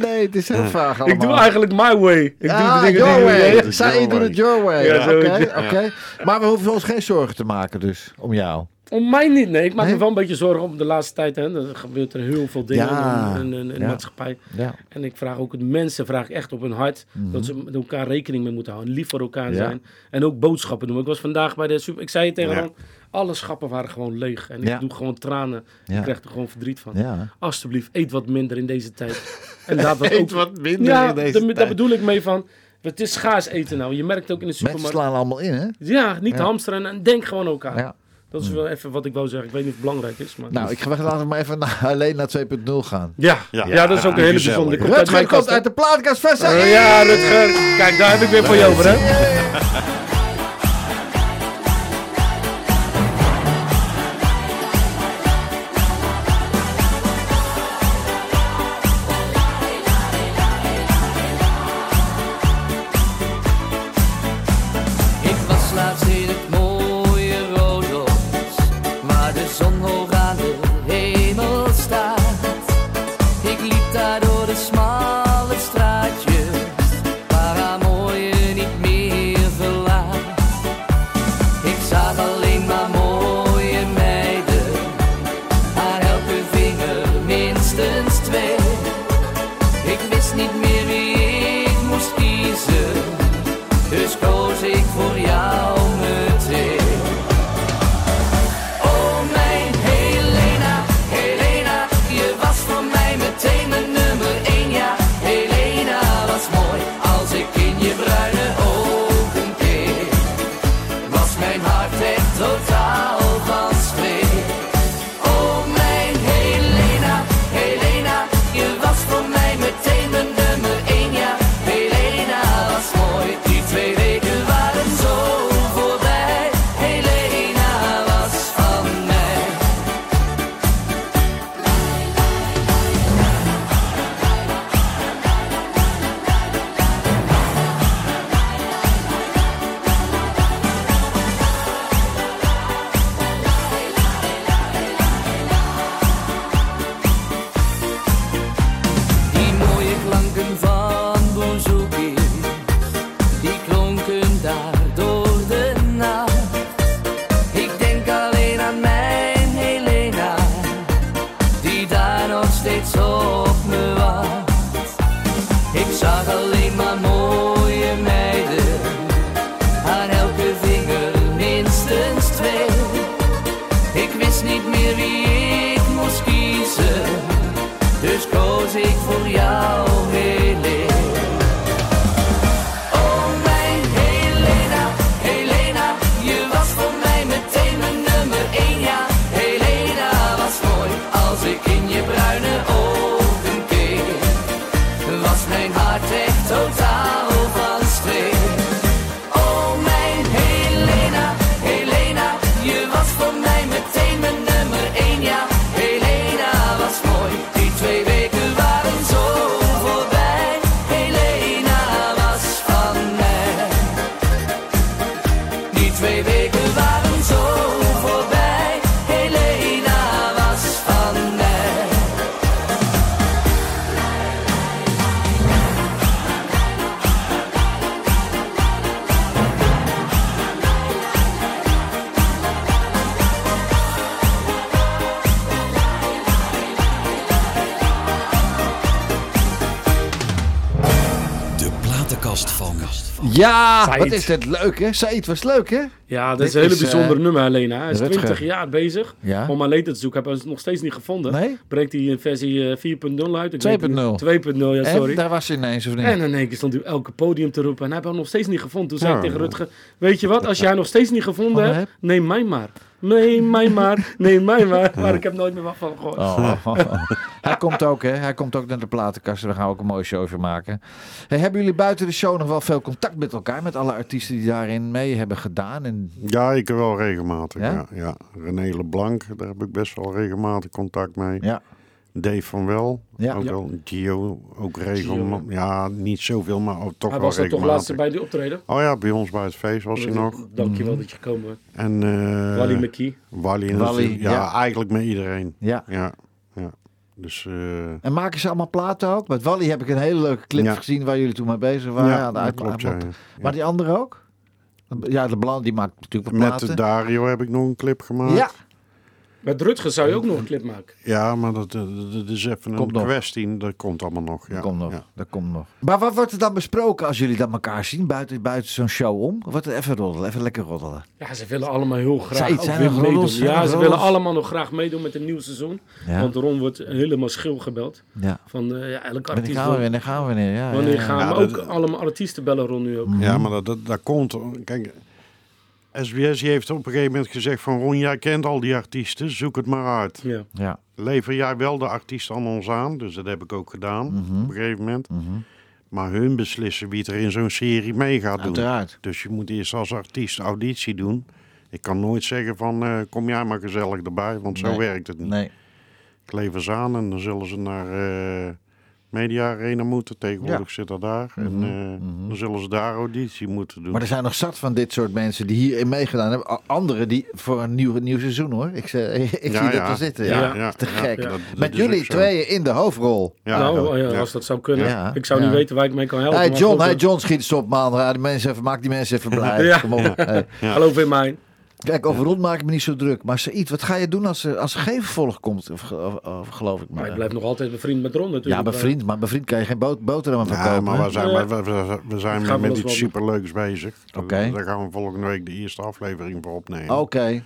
[SPEAKER 2] nee, het is heel vaag allemaal.
[SPEAKER 4] Ik doe eigenlijk my way. Ik
[SPEAKER 2] ah,
[SPEAKER 4] doe de dingen
[SPEAKER 2] your
[SPEAKER 4] die
[SPEAKER 2] way.
[SPEAKER 4] jullie-
[SPEAKER 3] doen.
[SPEAKER 2] Zij
[SPEAKER 3] Your
[SPEAKER 2] doen
[SPEAKER 3] way.
[SPEAKER 2] het your way.
[SPEAKER 4] Ja,
[SPEAKER 2] Oké,
[SPEAKER 4] zo
[SPEAKER 2] oké.
[SPEAKER 4] is
[SPEAKER 2] Maar we hoeven ons geen zorgen te maken dus, om jou.
[SPEAKER 4] Om mij niet, nee. Ik maak
[SPEAKER 2] Nee?
[SPEAKER 4] me wel een beetje zorgen om de laatste tijd. Hè. Er gebeurt er heel veel dingen
[SPEAKER 2] Ja.
[SPEAKER 4] in, in- in de
[SPEAKER 2] Ja.
[SPEAKER 4] maatschappij.
[SPEAKER 2] Ja. Mhm.
[SPEAKER 4] En ik vraag ook het mensen, vraag ik echt op hun hart, dat ze met elkaar rekening mee moeten houden. Lief voor elkaar
[SPEAKER 2] Ja.
[SPEAKER 4] zijn. En ook boodschappen doen. Ik was vandaag bij de super. Ik zei het tegen
[SPEAKER 3] Ja.
[SPEAKER 4] hem, alle schappen waren gewoon leeg. En ik
[SPEAKER 2] Ja.
[SPEAKER 4] doe gewoon tranen.
[SPEAKER 2] Ja.
[SPEAKER 4] Ik krijg er gewoon verdriet van.
[SPEAKER 2] Ja.
[SPEAKER 4] Alsjeblieft, eet wat minder in deze tijd. En laat dat
[SPEAKER 2] Eet
[SPEAKER 4] ook...
[SPEAKER 2] wat minder
[SPEAKER 4] ja,
[SPEAKER 2] in deze
[SPEAKER 4] daar-
[SPEAKER 2] tijd.
[SPEAKER 4] Daar bedoel ik mee van. Het is schaars eten nou. Je merkt ook in de
[SPEAKER 2] Mensen
[SPEAKER 4] supermarkt.
[SPEAKER 2] slaan allemaal in, hè?
[SPEAKER 4] Ja, niet hamsteren en denk gewoon aan elkaar.
[SPEAKER 2] Ja.
[SPEAKER 4] Dat
[SPEAKER 2] Mm.
[SPEAKER 4] is wel even wat ik wou zeggen. Ik weet niet of het belangrijk is. Maar...
[SPEAKER 2] Nou, ik ga weg. Laten we maar even naar, alleen naar 2.0 gaan.
[SPEAKER 4] ja.
[SPEAKER 3] Ja.
[SPEAKER 4] Ja. dat is ook een hele
[SPEAKER 3] Gezellig.
[SPEAKER 4] bijzondere. Komt uit
[SPEAKER 2] Rutger
[SPEAKER 4] mijn
[SPEAKER 2] komt
[SPEAKER 4] kast,
[SPEAKER 2] uit de plaatkast van
[SPEAKER 4] hè?
[SPEAKER 2] Saïd.
[SPEAKER 4] Ja, Rutger. Kijk, daar heb ik weer voor je over, hè?
[SPEAKER 7] Ik was laatst in het mooie rood waar de zon hoog aan de hemel staat. Ik liep daar door de smalle straatjes, waar haar mooie niet meer verlaat. Ik zag alleen maar mooie meiden, aan elke vinger minstens twee. Ik wist niet meer wie ik moest kiezen, dus koos ik voor jou meteen. Oh mijn Helena, Helena, je was voor mij meteen mijn nummer 1. Ja, Helena was mooi als ik in je bruine ogen keek. Was mijn hart echt totaal van streek. Oh mijn Helena, Helena, je was voor mij meteen mijn nummer 1. Ja, Helena was mooi, die twee weken waren zo voorbij. Helena was van mij. Die mooie klanken van bouzouki, die klonken daar door de nacht. Ik denk alleen aan mijn Helena, die daar nog steeds op me wacht. Ik zag alleen maar mooie meiden, aan elke vinger minstens twee. Ik wist niet meer wie ik moest kiezen dus koos ik voor jou, Helene. Oh mijn Helena, Helena, je was voor mij meteen mijn nummer 1. Ja, Helena was mooi als ik in je bruine ogen keek. Was mijn hart echt totaal van streek. Oh mijn Helena, Helena, je was voor mij meteen mijn nummer 1. Ja, Helena was mooi, die twee weken waren zo voorbij. Helena was van mij. Die twee weken waren zo voorbij. Helena was van mij.
[SPEAKER 1] De platenkast van.
[SPEAKER 2] Ja,
[SPEAKER 4] Said.
[SPEAKER 2] wat is dit leuk, hè? Said was leuk, hè?
[SPEAKER 4] Ja, dat
[SPEAKER 2] Dit
[SPEAKER 4] is een hele
[SPEAKER 2] is, eh,
[SPEAKER 4] bijzonder nummer, Helena. Hij is
[SPEAKER 2] Rutger.
[SPEAKER 4] 20 jaar bezig
[SPEAKER 2] Ja.
[SPEAKER 4] om alleen te zoeken. Hebben we nog steeds niet gevonden.
[SPEAKER 2] Nee?
[SPEAKER 4] Brengt hij in versie eh, 4.0 uit? Ik
[SPEAKER 2] 2.0.
[SPEAKER 4] weet niet. 2.0, ja, sorry.
[SPEAKER 2] En daar was hij ineens, of niet?
[SPEAKER 4] En in één keer stond hij op elke podium te roepen. En hij heeft hem nog steeds niet gevonden. Toen zei
[SPEAKER 3] Ja.
[SPEAKER 4] ik tegen Rutger, weet je wat, als jij nog steeds niet gevonden
[SPEAKER 2] Oh,
[SPEAKER 4] hebt, neem mij maar. Neem mij maar, neem mij maar. Maar ik heb nooit meer wat van gehoord.
[SPEAKER 2] Oh, oh, oh. Hij komt ook, hè? Hij komt ook naar de platenkast. Daar gaan we ook een mooie show van maken. Hey, hebben jullie buiten de show nog wel veel contact met elkaar? Met alle artiesten die daarin mee hebben gedaan? En...
[SPEAKER 3] Ja, ik wel regelmatig.
[SPEAKER 2] Ja?
[SPEAKER 3] Ja? Ja, René LeBlanc, daar heb ik best wel regelmatig contact mee.
[SPEAKER 2] Ja.
[SPEAKER 3] Dave van Wel,
[SPEAKER 2] Ja.
[SPEAKER 3] ook
[SPEAKER 4] Ja.
[SPEAKER 3] wel. Gio, ook regelmatig. Ja, niet zoveel, maar ook toch
[SPEAKER 4] hij
[SPEAKER 3] wel
[SPEAKER 4] was er toch laatst
[SPEAKER 3] regelmatig.
[SPEAKER 4] bij die optreden.
[SPEAKER 3] Oh ja, bij ons bij het feest was hij nog.
[SPEAKER 4] Dus,
[SPEAKER 2] Mm-hmm.
[SPEAKER 4] Dankjewel dat je gekomen bent.
[SPEAKER 3] En eh
[SPEAKER 4] Wally McKee.
[SPEAKER 3] Wally,
[SPEAKER 2] Wally,
[SPEAKER 3] natuurlijk. ja,
[SPEAKER 2] ja.
[SPEAKER 3] eigenlijk met iedereen.
[SPEAKER 2] Ja.
[SPEAKER 3] Ja, ja. Dus eh,
[SPEAKER 2] En maken ze allemaal platen ook? Met Wally heb ik een hele leuke clip
[SPEAKER 3] Ja.
[SPEAKER 2] gezien waar jullie toen mee bezig waren.
[SPEAKER 3] Ja,
[SPEAKER 2] aan de
[SPEAKER 3] dat
[SPEAKER 2] uitla-
[SPEAKER 3] klopt, ja,
[SPEAKER 2] aan-
[SPEAKER 3] ja.
[SPEAKER 2] Maar die andere ook? Ja, de Blan die maakt natuurlijk wat
[SPEAKER 3] met
[SPEAKER 2] platen.
[SPEAKER 3] Dario heb ik nog een clip gemaakt.
[SPEAKER 2] ja,
[SPEAKER 4] Met Rutger zou je ook nog een clip maken.
[SPEAKER 3] Ja, maar dat, dat, dat is even een
[SPEAKER 2] Komt nog.
[SPEAKER 3] kwestie. Dat komt allemaal nog. Ja.
[SPEAKER 2] dat komt nog.
[SPEAKER 3] Ja.
[SPEAKER 2] Dat komt nog. Maar wat wordt er dan besproken als jullie dan elkaar zien buiten, buiten zo'n show om? Wordt het even roddelen, even lekker roddelen.
[SPEAKER 4] Ja, ze willen allemaal heel graag
[SPEAKER 2] Zij-
[SPEAKER 4] ook
[SPEAKER 2] zijn
[SPEAKER 4] weer
[SPEAKER 2] er roddels,
[SPEAKER 4] meedoen.
[SPEAKER 2] zijn er
[SPEAKER 4] Ja, ze
[SPEAKER 2] roddels?
[SPEAKER 4] willen allemaal nog graag meedoen met het nieuwe seizoen.
[SPEAKER 2] Ja.
[SPEAKER 4] Want Ron wordt helemaal schil gebeld.
[SPEAKER 2] Ja.
[SPEAKER 4] Van eh, ja, elke
[SPEAKER 2] En dan
[SPEAKER 4] artiest.
[SPEAKER 2] gaan we
[SPEAKER 4] wil-
[SPEAKER 2] weer, dan gaan we weer. Ja, ja,
[SPEAKER 4] Wanneer
[SPEAKER 2] ja.
[SPEAKER 4] gaan we
[SPEAKER 3] Ja,
[SPEAKER 4] ook
[SPEAKER 3] dat-
[SPEAKER 4] allemaal artiesten bellen Ron nu ook? Hm?
[SPEAKER 3] Ja, maar dat, dat, dat komt. Kijk, SBS heeft op een gegeven moment gezegd van Ron, jij kent al die artiesten, zoek het maar uit.
[SPEAKER 4] Ja.
[SPEAKER 2] Ja.
[SPEAKER 3] Lever jij wel de artiesten aan ons aan, dus dat heb ik ook gedaan
[SPEAKER 2] Mhm.
[SPEAKER 3] op een gegeven moment. Maar hun beslissen wie er in zo'n serie mee gaat
[SPEAKER 2] Uiteraard.
[SPEAKER 3] doen. Dus je moet eerst als artiest auditie doen. Ik kan nooit zeggen van eh, kom jij maar gezellig erbij, want zo
[SPEAKER 2] Nee.
[SPEAKER 3] werkt het niet.
[SPEAKER 2] Nee.
[SPEAKER 3] Ik lever ze aan en dan zullen ze naar eh, Media Arena moeten. Tegenwoordig zit dat daar. En eh,
[SPEAKER 2] mhm.
[SPEAKER 3] dan zullen ze daar auditie moeten doen.
[SPEAKER 2] Maar er zijn nog zat van dit soort mensen die hierin meegedaan hebben. A- Anderen die voor een nieuw, nieuw seizoen hoor. Ik, ze- ik
[SPEAKER 3] Ja,
[SPEAKER 2] zie dat
[SPEAKER 3] ja.
[SPEAKER 2] er zitten. Ja.
[SPEAKER 4] Ja,
[SPEAKER 3] ja,
[SPEAKER 2] Dat is te
[SPEAKER 3] ja.
[SPEAKER 2] gek.
[SPEAKER 3] Ja, dat- dat
[SPEAKER 2] Met
[SPEAKER 3] is
[SPEAKER 2] jullie
[SPEAKER 3] ook zo.
[SPEAKER 2] tweeën in de hoofdrol.
[SPEAKER 3] Ja,
[SPEAKER 4] nou,
[SPEAKER 3] dat-
[SPEAKER 4] oh ja,
[SPEAKER 3] ja.
[SPEAKER 4] als dat zou kunnen.
[SPEAKER 2] Ja,
[SPEAKER 4] ik zou
[SPEAKER 2] ja.
[SPEAKER 4] niet weten waar ik mee kan helpen.
[SPEAKER 2] hey
[SPEAKER 4] maar
[SPEAKER 2] John,
[SPEAKER 4] goed,
[SPEAKER 2] hey
[SPEAKER 4] eh,
[SPEAKER 2] John, schiet eens op man. Raad de mensen even, maak die mensen even blij.
[SPEAKER 4] Ja.
[SPEAKER 2] Kom op. Hey.
[SPEAKER 3] Ja.
[SPEAKER 4] Hallo Wilmijn.
[SPEAKER 2] Kijk, over rond maak ik me niet zo druk. Maar Said, wat ga je doen als er, als er geen vervolg komt? Of, of- of geloof ik
[SPEAKER 4] Maar
[SPEAKER 2] maar.
[SPEAKER 4] ik blijf nog altijd bevriend met Ron natuurlijk.
[SPEAKER 2] ja, mijn vriend, maar mijn vriend kan je geen bot- boterhammen van
[SPEAKER 3] Ja,
[SPEAKER 2] kopen.
[SPEAKER 3] maar
[SPEAKER 2] hè?
[SPEAKER 3] we zijn,
[SPEAKER 4] Ja.
[SPEAKER 3] we, we- we zijn
[SPEAKER 4] Gaan we
[SPEAKER 3] met
[SPEAKER 4] los
[SPEAKER 3] iets
[SPEAKER 4] wel.
[SPEAKER 3] superleuks bezig.
[SPEAKER 2] Oké.
[SPEAKER 3] Daar gaan we volgende week de eerste aflevering voor opnemen.
[SPEAKER 2] Oké.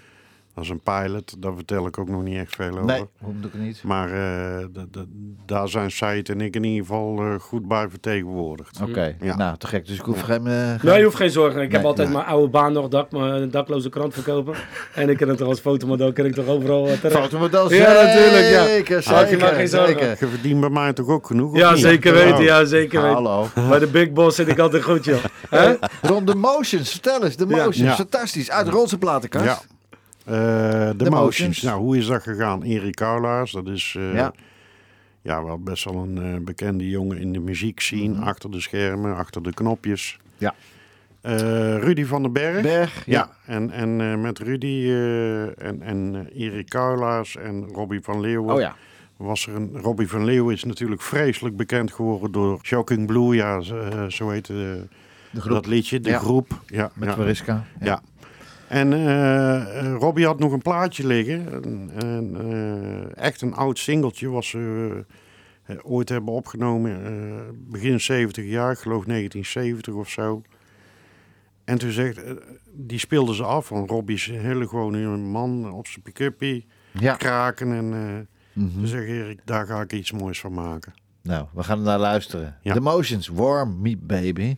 [SPEAKER 3] Dat is een pilot, daar vertel ik ook nog niet echt veel over.
[SPEAKER 2] Nee, hoe doe ik het niet?
[SPEAKER 3] Maar eh, d- d- daar zijn Said en ik in ieder geval eh, goed bij vertegenwoordigd.
[SPEAKER 2] Oké,
[SPEAKER 3] Ja.
[SPEAKER 2] nou te gek. Dus ik hoef geen... eh, geen-
[SPEAKER 4] Nee, je hoeft geen zorgen. Ik heb
[SPEAKER 2] Nee,
[SPEAKER 4] altijd mijn oude baan nog, dak, mijn dakloze krant verkopen. en ik kan het toch als fotomodel, kan ik toch overal eh, terecht.
[SPEAKER 2] Fotomodel,
[SPEAKER 4] Ja, natuurlijk, ja.
[SPEAKER 2] Zeker,
[SPEAKER 4] Maak je maar
[SPEAKER 2] zeker,
[SPEAKER 4] geen zorgen.
[SPEAKER 2] zeker.
[SPEAKER 3] Je verdient bij mij toch ook genoeg? of
[SPEAKER 4] ja,
[SPEAKER 3] niet?
[SPEAKER 4] zeker weten, ja, zeker weten.
[SPEAKER 2] Hallo.
[SPEAKER 4] Bij de Big Boss zit ik altijd goed, joh. Hè?
[SPEAKER 2] Rond de motions, vertel eens. De motions,
[SPEAKER 3] Ja.
[SPEAKER 2] fantastisch. Uit Rolse platenkast.
[SPEAKER 3] Ja. Eh, de
[SPEAKER 2] Motions.
[SPEAKER 3] motions. Nou, hoe is dat gegaan? Erik Kaulaars, dat is eh,
[SPEAKER 2] Ja.
[SPEAKER 3] ja. wel best wel een eh, bekende jongen in de muziekscene. Achter de schermen, achter de knopjes.
[SPEAKER 2] Mhm. Ja.
[SPEAKER 3] Eh, Rudy van den Berg.
[SPEAKER 2] Berg, ja.
[SPEAKER 3] Ja, en, en eh, met Rudy eh, en, en eh, Erik Kuilaars en Robbie van Leeuwen.
[SPEAKER 2] Oh ja.
[SPEAKER 3] Was er een, Robbie van Leeuwen is natuurlijk vreselijk bekend geworden door Shocking Blue. Ja, z- eh, zo heette eh,
[SPEAKER 2] groep.
[SPEAKER 3] dat liedje. De
[SPEAKER 2] Ja.
[SPEAKER 3] groep. Ja,
[SPEAKER 2] Met
[SPEAKER 3] ja.
[SPEAKER 2] Mariska.
[SPEAKER 3] Ja. En eh, eh, Robbie had nog een plaatje liggen. En, en, eh, echt een oud singeltje was ze eh, eh, ooit hebben opgenomen. eh, begin 70 jaar, ik geloof 1970 of zo. En toen zegt, eh, die speelden ze af. Want Robbie is een hele gewone jonge man op zijn pick-upie.
[SPEAKER 2] Ja. Mhm.
[SPEAKER 3] Kraken en... eh Toen zeg ik, daar ga ik iets moois van maken.
[SPEAKER 2] Nou, we gaan er naar luisteren.
[SPEAKER 3] Ja.
[SPEAKER 2] The motions, warm me baby.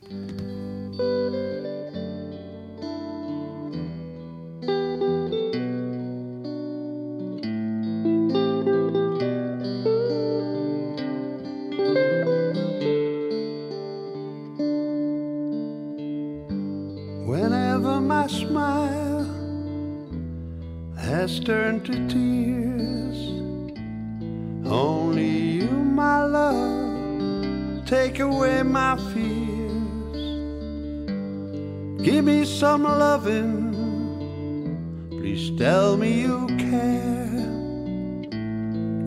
[SPEAKER 8] Whenever my smile has turned to tears, only you, my love, take away my fears. Give me some loving, please tell me you care.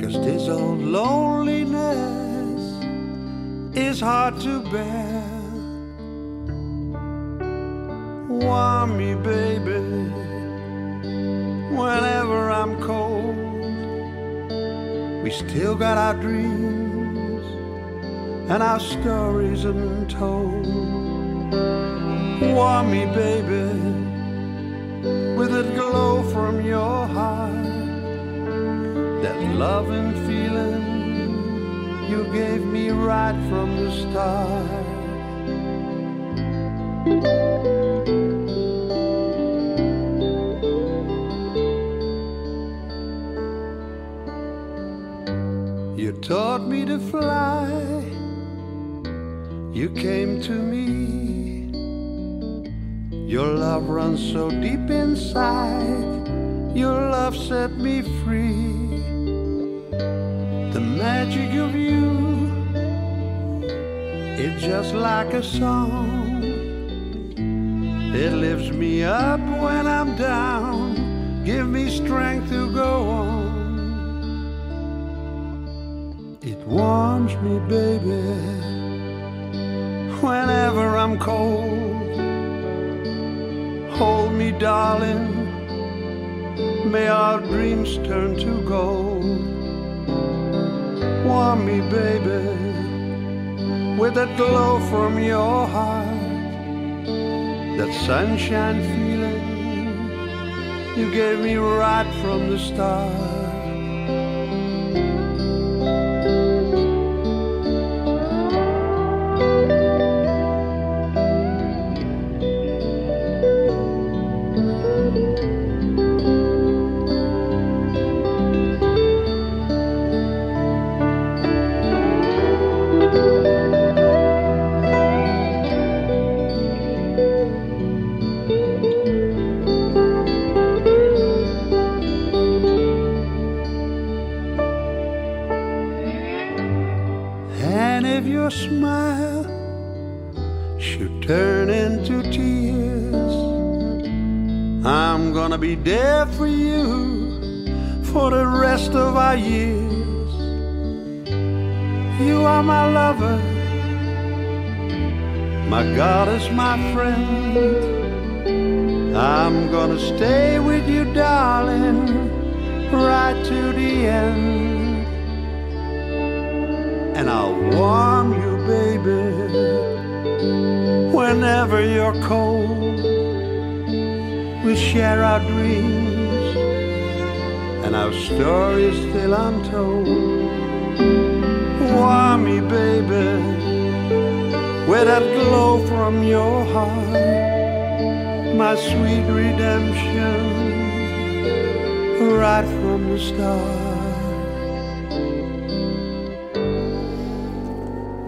[SPEAKER 8] Cause this old loneliness is hard to bear. Warm me, baby, whenever I'm cold. We still got our dreams and our stories untold. Warm me, baby, with a glow from your heart. That loving feeling you gave me right from the start. You taught me to fly. You came to me. Your love runs so deep inside. Your love set me free. The magic of you is just like a song. It lifts me up when I'm down. Give me strength to go on. It warms me, baby, whenever I'm cold. Hold me, darling, may our dreams turn to gold. Warm me, baby, with that glow from your heart, that sunshine feeling you gave me right from the start. I'm gonna be there for you for the rest of our years. You are my lover, my goddess, my friend. I'm gonna stay with you, darling, right to the end. And I'll warm you, baby, whenever you're cold. We'll share our dreams and
[SPEAKER 2] nou,
[SPEAKER 8] our stories still untold. Warm me, baby, with that glow from your heart, my sweet redemption, right from the start.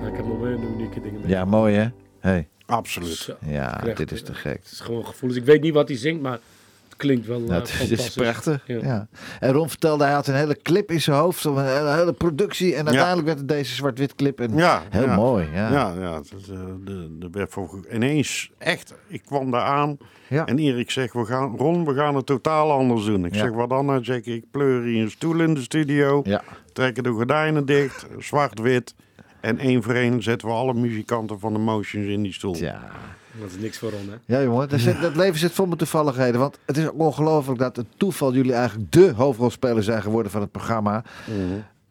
[SPEAKER 4] Ja, ik heb nog weer unieke dingen mee.
[SPEAKER 2] Ja, mooi hè? Hey.
[SPEAKER 3] Absoluut.
[SPEAKER 4] Zo,
[SPEAKER 2] Ja,
[SPEAKER 4] Echt,
[SPEAKER 2] dit is te gek.
[SPEAKER 4] het is gewoon gevoelens. Ik weet niet wat hij zingt, maar het klinkt wel eh,
[SPEAKER 2] Nou, het is
[SPEAKER 4] fantastisch.
[SPEAKER 2] prachtig.
[SPEAKER 4] Ja.
[SPEAKER 2] Ja. En Ron vertelde, hij had een hele clip in zijn hoofd, een hele, hele productie. En uiteindelijk werd het deze zwart-wit clip. En
[SPEAKER 3] Ja,
[SPEAKER 2] heel
[SPEAKER 3] ja.
[SPEAKER 2] mooi. Ja.
[SPEAKER 3] Ja, ja. het is, eh, de, de werd voor, ineens, echt, ik kwam daar aan
[SPEAKER 2] Ja.
[SPEAKER 3] en Erik zegt, we gaan, Ron, we gaan het totaal anders doen. Ik
[SPEAKER 2] Ja.
[SPEAKER 3] zeg, wat dan? Hij zegt, ik pleur hier een stoel in de studio,
[SPEAKER 2] Ja.
[SPEAKER 3] trekken de gordijnen dicht, zwart-wit. En één voor één zetten we alle muzikanten van de Motions in die stoel.
[SPEAKER 2] Ja.
[SPEAKER 4] Dat is niks voor Ron, hè?
[SPEAKER 2] Ja, jongen, dat, zit- dat leven zit vol met toevalligheden. Want het is ook ongelooflijk dat het toeval jullie eigenlijk de hoofdrolspeler zijn geworden van het programma. Mhm.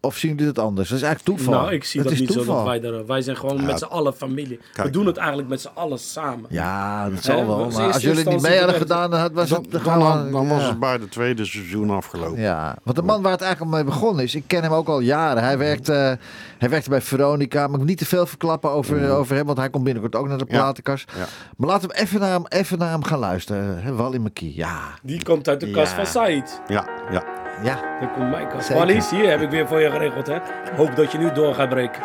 [SPEAKER 2] Of zien jullie dat anders? Dat is eigenlijk toeval.
[SPEAKER 4] Nou, ik zie dat,
[SPEAKER 2] is
[SPEAKER 4] niet zo.
[SPEAKER 2] toeval.
[SPEAKER 4] Dat wij, daar, eh, wij zijn gewoon met z'n allen familie. we
[SPEAKER 3] Kijk.
[SPEAKER 4] doen het eigenlijk met z'n allen samen.
[SPEAKER 2] Ja, dat
[SPEAKER 4] Hè,
[SPEAKER 2] zal
[SPEAKER 4] in
[SPEAKER 2] wel. Maar
[SPEAKER 4] eerste
[SPEAKER 2] als jullie het niet mee hadden
[SPEAKER 4] instantie
[SPEAKER 2] gedaan, dan had- was
[SPEAKER 3] Dan,
[SPEAKER 2] het
[SPEAKER 3] dan,
[SPEAKER 2] gewoon...
[SPEAKER 3] had- dan was
[SPEAKER 2] ja.
[SPEAKER 3] het bij de tweede seizoen afgelopen.
[SPEAKER 2] Ja, want de man waar het eigenlijk mee begonnen is, ik ken hem ook al jaren. Hij werkte, eh, hij werkte bij Veronica, maar ik moet niet te veel verklappen over, over hem, want hij komt binnenkort ook naar de
[SPEAKER 3] Mm. Ja.
[SPEAKER 2] platenkast.
[SPEAKER 3] Ja.
[SPEAKER 2] Maar laten we even naar hem, even naar hem gaan luisteren. hè, Wally McKee, ja.
[SPEAKER 4] Die komt uit de kast van Said.
[SPEAKER 3] Ja, ja.
[SPEAKER 2] Ja,
[SPEAKER 4] Dan komt mijn kast.
[SPEAKER 2] Zeker.
[SPEAKER 4] Wallis, hier heb ik weer voor je geregeld, hè? Hoop dat je nu door gaat breken.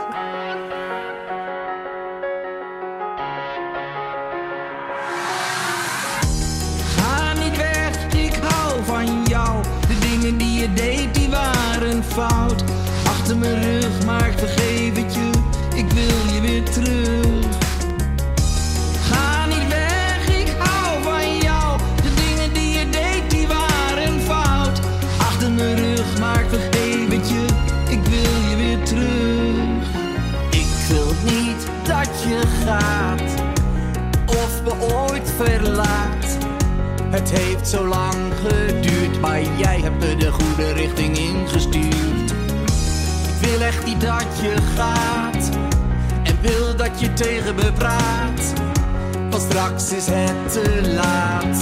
[SPEAKER 6] Ga niet weg, ik hou van jou. De dingen die je deed, die waren fout. Achter mijn rug, maar ik vergeef het je. Ik wil je weer terug. Ga niet weg, ik hou van jou. De dingen die je deed, die waren fout. Achter mijn rug, maar ik vergeef het je. Ik wil je weer terug. Ik wil niet dat je gaat. Of me ooit verlaat. Het heeft zo lang geduurd, maar jij hebt me de goede richting ingestuurd. Ik wil echt niet dat je gaat en wil dat je tegen me praat. Want straks is het te laat,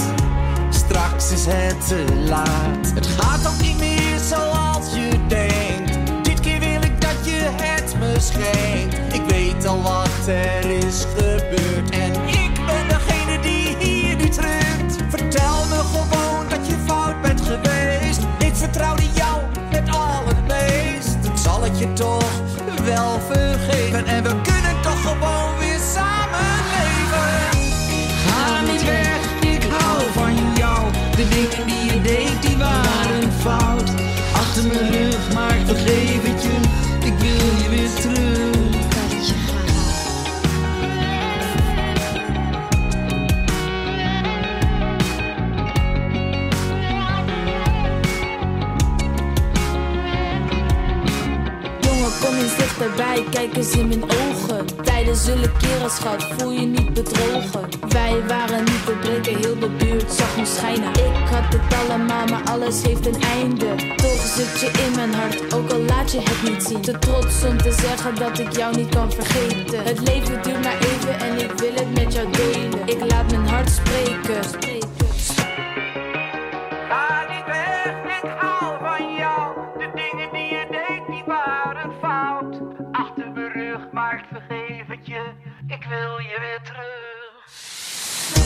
[SPEAKER 6] straks is het te laat. Het gaat ook niet meer zoals je denkt. Dit keer wil ik dat je het me schenkt. Ik weet al wat er is gebeurd en ik ben degene die hier nu drukt. Vertel me gewoon dat je fout bent geweest. Ik vertrouwde jou het allermeest. Dan zal ik je toch wel vergeven en we kunnen toch gewoon weer samen leven. Ga niet weg, ik hou van jou. De dingen die je deed, die waren fout. Achter mijn rug, maar ik vergeef het je. Ik wil je weer terug.
[SPEAKER 9] Jongen, kom eens dichterbij, kijk eens in mijn ogen. Tijden zullen keren, schat, voel je niet bedrogen. Wij waren niet te breken, heel de buurt zag ons schijnen. Ik had het allemaal, maar alles heeft een einde. Toch zit je in mijn hart, ook al laat je het niet zien. Te trots om te zeggen dat ik jou niet kan vergeten. Het leven duurt maar even en ik wil het met jou delen. Ik laat mijn hart spreken.
[SPEAKER 10] Ga niet weg, ik hou van jou. De dingen die je deed, die waren fout. Achter mijn rug, maar ik vergeef het je. Ik wil je weer terug.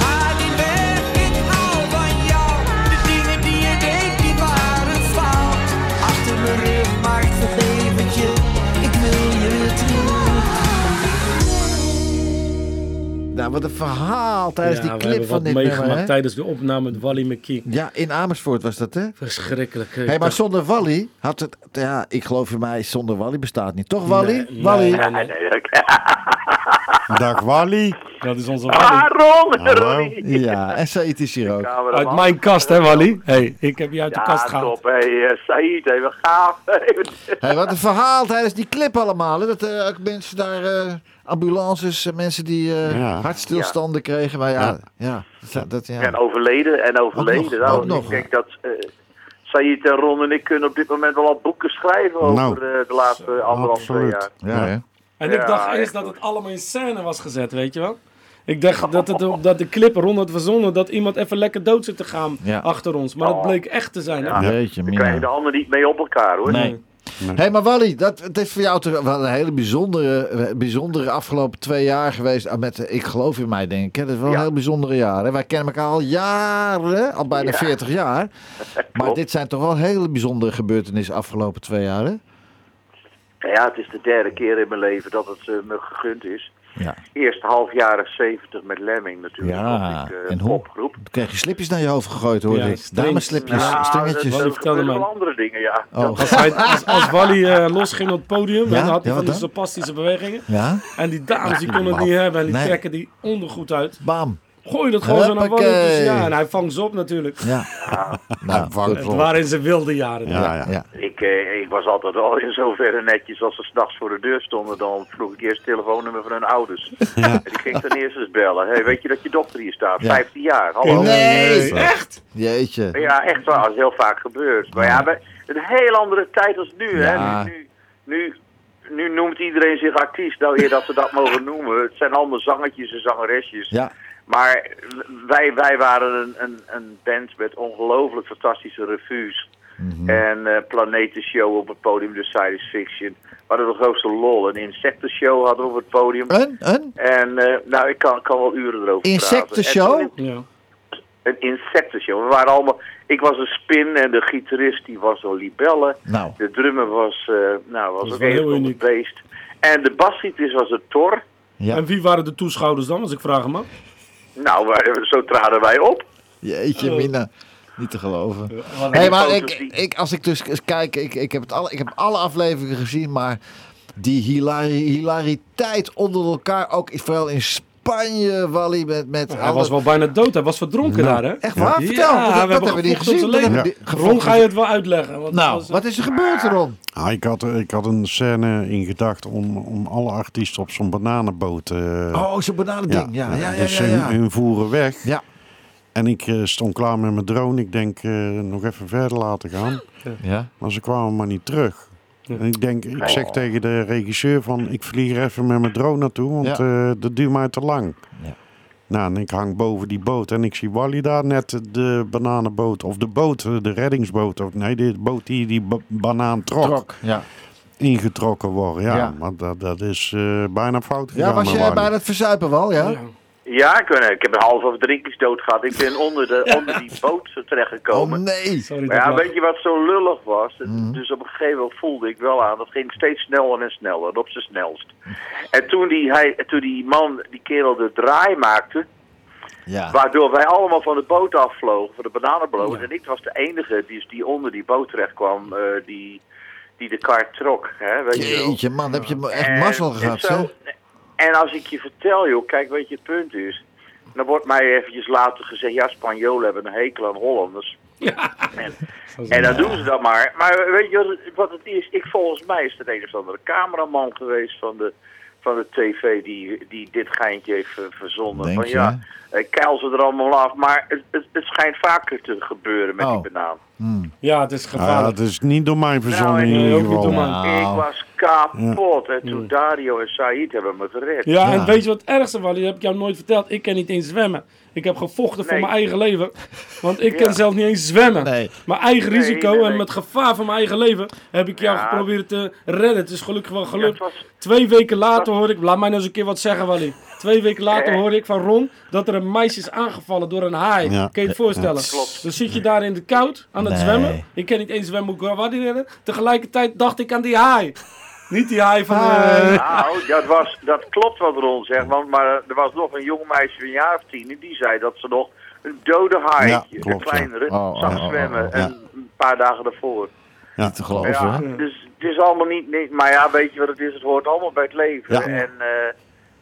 [SPEAKER 6] Ga niet weg, ik hou van jou. De dingen
[SPEAKER 2] wat een verhaal tijdens
[SPEAKER 4] Ja,
[SPEAKER 2] die
[SPEAKER 4] we
[SPEAKER 2] clip
[SPEAKER 4] hebben
[SPEAKER 2] van
[SPEAKER 4] wat
[SPEAKER 2] dit
[SPEAKER 4] meegemaakt
[SPEAKER 2] nummer. hè?
[SPEAKER 4] tijdens de opname met Wally McKee.
[SPEAKER 2] Ja, in Amersfoort was dat, hè?
[SPEAKER 4] Verschrikkelijk. eh,
[SPEAKER 2] Hé, maar zonder Wally had het... Ja, ik geloof in mij, zonder Wally bestaat niet. Toch, Wally? Wally?
[SPEAKER 3] Dag Wally.
[SPEAKER 4] Dat is onze
[SPEAKER 11] Ah,
[SPEAKER 4] Wally.
[SPEAKER 11] Ron,
[SPEAKER 3] Hallo.
[SPEAKER 11] Ronnie.
[SPEAKER 2] Ja, en Said is hier ook.
[SPEAKER 4] Uit mijn kast, hè, Wally? hey, ik heb je uit de kast
[SPEAKER 11] Ja,
[SPEAKER 4] gehaald.
[SPEAKER 11] top. Hé, hey, eh, Saïd, hé, wat gaaf.
[SPEAKER 2] Hé, wat een verhaal tijdens die clip allemaal. Hè? Dat eh, ook mensen daar, eh, ambulances, eh, mensen die eh,
[SPEAKER 3] Ja.
[SPEAKER 2] hartstilstanden kregen. Maar ja, ja. dat- dat, ja.
[SPEAKER 11] En overleden, en overleden.
[SPEAKER 2] Ook nog,
[SPEAKER 11] nou,
[SPEAKER 2] ook nog.
[SPEAKER 11] Ik denk dat eh Saïd en Ron en ik kunnen op dit moment wel al boeken schrijven over
[SPEAKER 3] Nou.
[SPEAKER 11] eh, de laatste anderhalf twee
[SPEAKER 3] absoluut.
[SPEAKER 11] jaar.
[SPEAKER 2] Ja, hè?
[SPEAKER 4] En ik
[SPEAKER 11] Ja,
[SPEAKER 4] dacht eerst
[SPEAKER 11] echt
[SPEAKER 4] dat
[SPEAKER 11] goed.
[SPEAKER 4] het allemaal in scène was gezet, weet je wel? Ik dacht dat, het, dat de clip rond had verzonnen dat iemand even lekker dood zit te gaan
[SPEAKER 2] Ja.
[SPEAKER 4] achter ons. Maar dat
[SPEAKER 11] Oh.
[SPEAKER 4] bleek echt te zijn. hè?
[SPEAKER 11] Ja.
[SPEAKER 2] Jeetje,
[SPEAKER 11] Dan krijgen de
[SPEAKER 2] mina.
[SPEAKER 11] handen niet mee op elkaar, hoor.
[SPEAKER 2] Nee. Hé, hey, maar Wally, dat, het is voor jou toch wel een hele bijzondere, eh, bijzondere afgelopen twee jaar geweest. Ah, Met eh, Ik geloof in mij, denk ik. hè. Dat is wel
[SPEAKER 11] Ja.
[SPEAKER 2] een heel bijzondere jaren. Wij kennen elkaar al jaren, al bijna
[SPEAKER 11] Ja.
[SPEAKER 2] 40 jaar. Maar
[SPEAKER 11] Klopt.
[SPEAKER 2] dit zijn toch wel hele bijzondere gebeurtenissen afgelopen twee jaar, hè?
[SPEAKER 11] Nou ja, het is de derde keer in mijn leven dat het eh, me gegund is.
[SPEAKER 2] Ja.
[SPEAKER 11] Eerst half jaren 70 met Lemming natuurlijk.
[SPEAKER 2] Ja,
[SPEAKER 11] vond ik, eh,
[SPEAKER 2] en hoe-
[SPEAKER 11] popgroep.
[SPEAKER 2] Toen kreeg je slipjes naar je hoofd gegooid, hoor
[SPEAKER 4] Ja,
[SPEAKER 2] ik.
[SPEAKER 4] strings.
[SPEAKER 2] Dameslipjes,
[SPEAKER 11] Nou, dat-
[SPEAKER 2] stringetjes.
[SPEAKER 11] dat
[SPEAKER 4] Wally, vertel
[SPEAKER 11] gebeuren
[SPEAKER 4] hem
[SPEAKER 11] wel
[SPEAKER 4] maar.
[SPEAKER 11] andere dingen, ja.
[SPEAKER 2] Oh,
[SPEAKER 4] Als, hij, als, als Wally eh, losging op het podium,
[SPEAKER 2] Ja?
[SPEAKER 4] dan had hij
[SPEAKER 2] Ja,
[SPEAKER 4] van
[SPEAKER 2] wat
[SPEAKER 4] die
[SPEAKER 2] dan?
[SPEAKER 4] sapastische bewegingen.
[SPEAKER 2] ja?
[SPEAKER 4] En die dames die konden het niet hebben en die
[SPEAKER 2] Nee.
[SPEAKER 4] trekken die ondergoed uit.
[SPEAKER 2] Bam.
[SPEAKER 4] Gooi dat gewoon zo naar Wally.
[SPEAKER 2] Huppakee.
[SPEAKER 4] Dus ja, en hij vangt ze op natuurlijk.
[SPEAKER 2] Ja. Nou,
[SPEAKER 3] vangt
[SPEAKER 2] goed.
[SPEAKER 4] Het waren in zijn wilde jaren.
[SPEAKER 3] Ja,
[SPEAKER 2] Ja,
[SPEAKER 3] ja.
[SPEAKER 2] ja.
[SPEAKER 11] Ik, eh, ik was altijd al in zoverre netjes als ze s'nachts voor de deur stonden. Dan vroeg ik eerst het telefoonnummer van hun ouders. En die ging dan eerst eens bellen. Hey, weet je dat je dochter hier staat?
[SPEAKER 2] Ja.
[SPEAKER 11] 15 jaar, hallo.
[SPEAKER 2] Nee,
[SPEAKER 4] Echt?
[SPEAKER 2] Jeetje.
[SPEAKER 11] Ja, echt waar. Dat is heel vaak gebeurd. Maar ja, bij- een heel andere tijd als nu.
[SPEAKER 2] Ja.
[SPEAKER 11] Hè? Nu, nu, nu, nu noemt iedereen zich artiest. Nou, eer dat ze dat mogen noemen. Het zijn allemaal zangetjes en zangeresjes.
[SPEAKER 2] Ja.
[SPEAKER 11] Maar wij, wij waren een, een, een band met ongelooflijk fantastische revues. En eh, planetenshow op het podium, de science fiction. We hadden de grootste lol. Een insectenshow hadden we op het podium.
[SPEAKER 2] Een, een
[SPEAKER 11] En eh, nou, ik kan, kan wel uren erover praten. En
[SPEAKER 2] insectenshow?
[SPEAKER 11] toen-
[SPEAKER 4] Ja.
[SPEAKER 11] een insectenshow. We waren allemaal, ik was een spin en de gitarist die was een libelle.
[SPEAKER 2] Nou.
[SPEAKER 11] De drummer was, eh nou, was
[SPEAKER 4] is
[SPEAKER 11] ook
[SPEAKER 4] wel
[SPEAKER 11] een
[SPEAKER 4] heel
[SPEAKER 11] van de
[SPEAKER 4] uniek.
[SPEAKER 11] beest. En de basgitarist was een tor.
[SPEAKER 2] Ja.
[SPEAKER 4] En wie waren de toeschouwers dan, als ik vraag hem af?
[SPEAKER 11] Nou, wij- zo traden wij op.
[SPEAKER 2] Jeetje,
[SPEAKER 4] Oh.
[SPEAKER 2] Mina. Niet te geloven.
[SPEAKER 11] En
[SPEAKER 2] hey,
[SPEAKER 11] die
[SPEAKER 2] maar ik,
[SPEAKER 11] foto's die-
[SPEAKER 2] ik, als ik dus eens kijk, ik, ik, heb het alle, ik heb alle afleveringen gezien, maar die hilari- hilariteit onder elkaar, ook vooral in Spanje, Wally, met, met
[SPEAKER 4] Hij
[SPEAKER 2] alle-
[SPEAKER 4] was wel bijna dood, hij was verdronken daar, hè?
[SPEAKER 2] Nou, Echt waar?
[SPEAKER 4] Ja,
[SPEAKER 2] Vertel, dat-
[SPEAKER 4] we
[SPEAKER 2] dat
[SPEAKER 4] hebben
[SPEAKER 2] hebben we niet
[SPEAKER 4] gevochten
[SPEAKER 2] gezien.
[SPEAKER 4] om
[SPEAKER 2] Dat
[SPEAKER 4] zijn
[SPEAKER 2] hebben
[SPEAKER 4] leven.
[SPEAKER 2] we niet-
[SPEAKER 4] Ron ga je
[SPEAKER 2] gevochten.
[SPEAKER 4] het wel uitleggen. want
[SPEAKER 2] Nou,
[SPEAKER 4] dat was-
[SPEAKER 2] wat is er gebeurd, Ron?
[SPEAKER 3] Ah, ik, had, ik had een scène in gedachten om, om alle artiesten op zo'n bananenboot eh,
[SPEAKER 2] Oh, zo'n bananending. Ja, ja, ja.
[SPEAKER 3] Dus
[SPEAKER 2] ja,
[SPEAKER 3] hun-
[SPEAKER 2] ja.
[SPEAKER 3] hun voeren weg.
[SPEAKER 2] Ja.
[SPEAKER 3] En ik eh, stond klaar met mijn drone. Ik denk eh, nog even verder laten gaan.
[SPEAKER 2] Ja. Oh.
[SPEAKER 3] Maar ze kwamen maar niet terug. En ik denk, ik zeg tegen de regisseur van ik vlieg er even met mijn drone naartoe, want eh, dat duurt mij te lang.
[SPEAKER 2] Ja.
[SPEAKER 3] Nou, en ik hang boven die boot en ik zie Wally daar net de bananenboot, of de boot, eh, de reddingsboot, of nee, de boot die die ba- banaan trok,
[SPEAKER 2] Trok, ja.
[SPEAKER 3] ingetrokken worden. Ja,
[SPEAKER 2] Ja.
[SPEAKER 3] maar dat, dat is eh, bijna fout gegaan.
[SPEAKER 2] Ja, was
[SPEAKER 3] met
[SPEAKER 2] jij
[SPEAKER 3] Wally.
[SPEAKER 2] bij het verzuipen wel, ja?
[SPEAKER 4] Ja.
[SPEAKER 11] Ja, ik, ben- ik heb een halve verdrinkings dood gehad. Ik ben onder, de, onder die boot
[SPEAKER 2] Oh
[SPEAKER 11] terechtgekomen.
[SPEAKER 2] nee.
[SPEAKER 4] Sorry,
[SPEAKER 11] maar
[SPEAKER 4] dat
[SPEAKER 11] ja,
[SPEAKER 4] mag.
[SPEAKER 11] weet je wat zo lullig was? Dus op een gegeven moment voelde ik wel aan. Dat ging steeds sneller en sneller. en Op zijn snelst. En toen die, hij, toen die man, die kerel de draai maakte.
[SPEAKER 2] Ja.
[SPEAKER 11] Waardoor wij allemaal van de boot afvlogen, van de bananenboot. En ik was de enige die, die onder die boot terecht kwam, eh, die, die de kar trok. Hè, weet je wel.
[SPEAKER 2] Jeetje, man, heb je echt
[SPEAKER 11] En-
[SPEAKER 2] mazzel
[SPEAKER 11] en
[SPEAKER 2] gehad,
[SPEAKER 11] zo-
[SPEAKER 2] hè?
[SPEAKER 11] En als ik je vertel, joh, kijk weet je het punt is. Dan wordt mij eventjes later gezegd, ja, Spanjolen hebben een hekel aan Hollanders. En dan doen ze dat maar. Maar weet je wat het- wat het is? Ik volgens mij is het een of andere cameraman geweest van de, van de tv die, die dit geintje heeft ver- verzonnen.
[SPEAKER 2] Denk
[SPEAKER 11] van
[SPEAKER 2] je,
[SPEAKER 11] ja, eh, keil ze er allemaal af. Maar het, het, het schijnt vaker te gebeuren met
[SPEAKER 2] Oh.
[SPEAKER 11] die banaan.
[SPEAKER 4] ja, het is
[SPEAKER 3] Ah,
[SPEAKER 4] gevaarlijk.
[SPEAKER 3] dat is niet door mij verzonnen
[SPEAKER 11] Nou,
[SPEAKER 3] in
[SPEAKER 4] nee,
[SPEAKER 3] ieder
[SPEAKER 4] ook niet
[SPEAKER 3] geval.
[SPEAKER 4] door mij.
[SPEAKER 2] Nou.
[SPEAKER 11] Ik was kapot. En toen Dario en Said hebben me gered.
[SPEAKER 4] Ja,
[SPEAKER 2] Ja.
[SPEAKER 4] en weet je wat het ergste was? Dat heb ik jou nooit verteld. Ik kan niet eens zwemmen. Ik heb gevochten voor
[SPEAKER 11] Nee.
[SPEAKER 4] mijn eigen leven. Want ik kan
[SPEAKER 11] Ja.
[SPEAKER 4] zelf niet eens zwemmen.
[SPEAKER 2] Nee.
[SPEAKER 4] Mijn eigen
[SPEAKER 11] Nee,
[SPEAKER 4] risico
[SPEAKER 11] nee, nee.
[SPEAKER 4] en met gevaar van mijn eigen leven heb ik jou
[SPEAKER 11] Ja.
[SPEAKER 4] geprobeerd te redden. Het is gelukkig wel gelukt.
[SPEAKER 11] Ja, het was-
[SPEAKER 4] Twee weken later hoor ik, laat mij nou eens een keer wat zeggen Wally. Twee weken later
[SPEAKER 11] Eh.
[SPEAKER 4] hoor ik van Ron dat er een meisje is aangevallen door een haai.
[SPEAKER 3] Ja.
[SPEAKER 4] Kun je je het voorstellen?
[SPEAKER 11] Klopt.
[SPEAKER 4] Dan zit je daar in de koud aan het
[SPEAKER 2] Nee.
[SPEAKER 4] zwemmen. Ik kan niet eens zwemmen, hoe kan ik Wally redden? Tegelijkertijd dacht ik aan die haai. Niet die haai van... eh,
[SPEAKER 11] Nou, dat, was, dat klopt wat Ron zegt. Want, maar er was nog een jong meisje van een jaar of tien. en die zei dat ze nog een dode haai,
[SPEAKER 3] Ja, klopt,
[SPEAKER 11] een kleinere,
[SPEAKER 2] ja. Oh,
[SPEAKER 11] zag
[SPEAKER 2] oh, oh,
[SPEAKER 11] zwemmen.
[SPEAKER 2] oh, oh,
[SPEAKER 11] en een paar dagen daarvoor.
[SPEAKER 3] Ja.
[SPEAKER 2] Te geloven,
[SPEAKER 11] ja,
[SPEAKER 2] hè?
[SPEAKER 11] dus het is allemaal niet, niet... Maar ja, weet je wat het is? Het hoort allemaal bij het leven.
[SPEAKER 3] Ja.
[SPEAKER 11] En eh,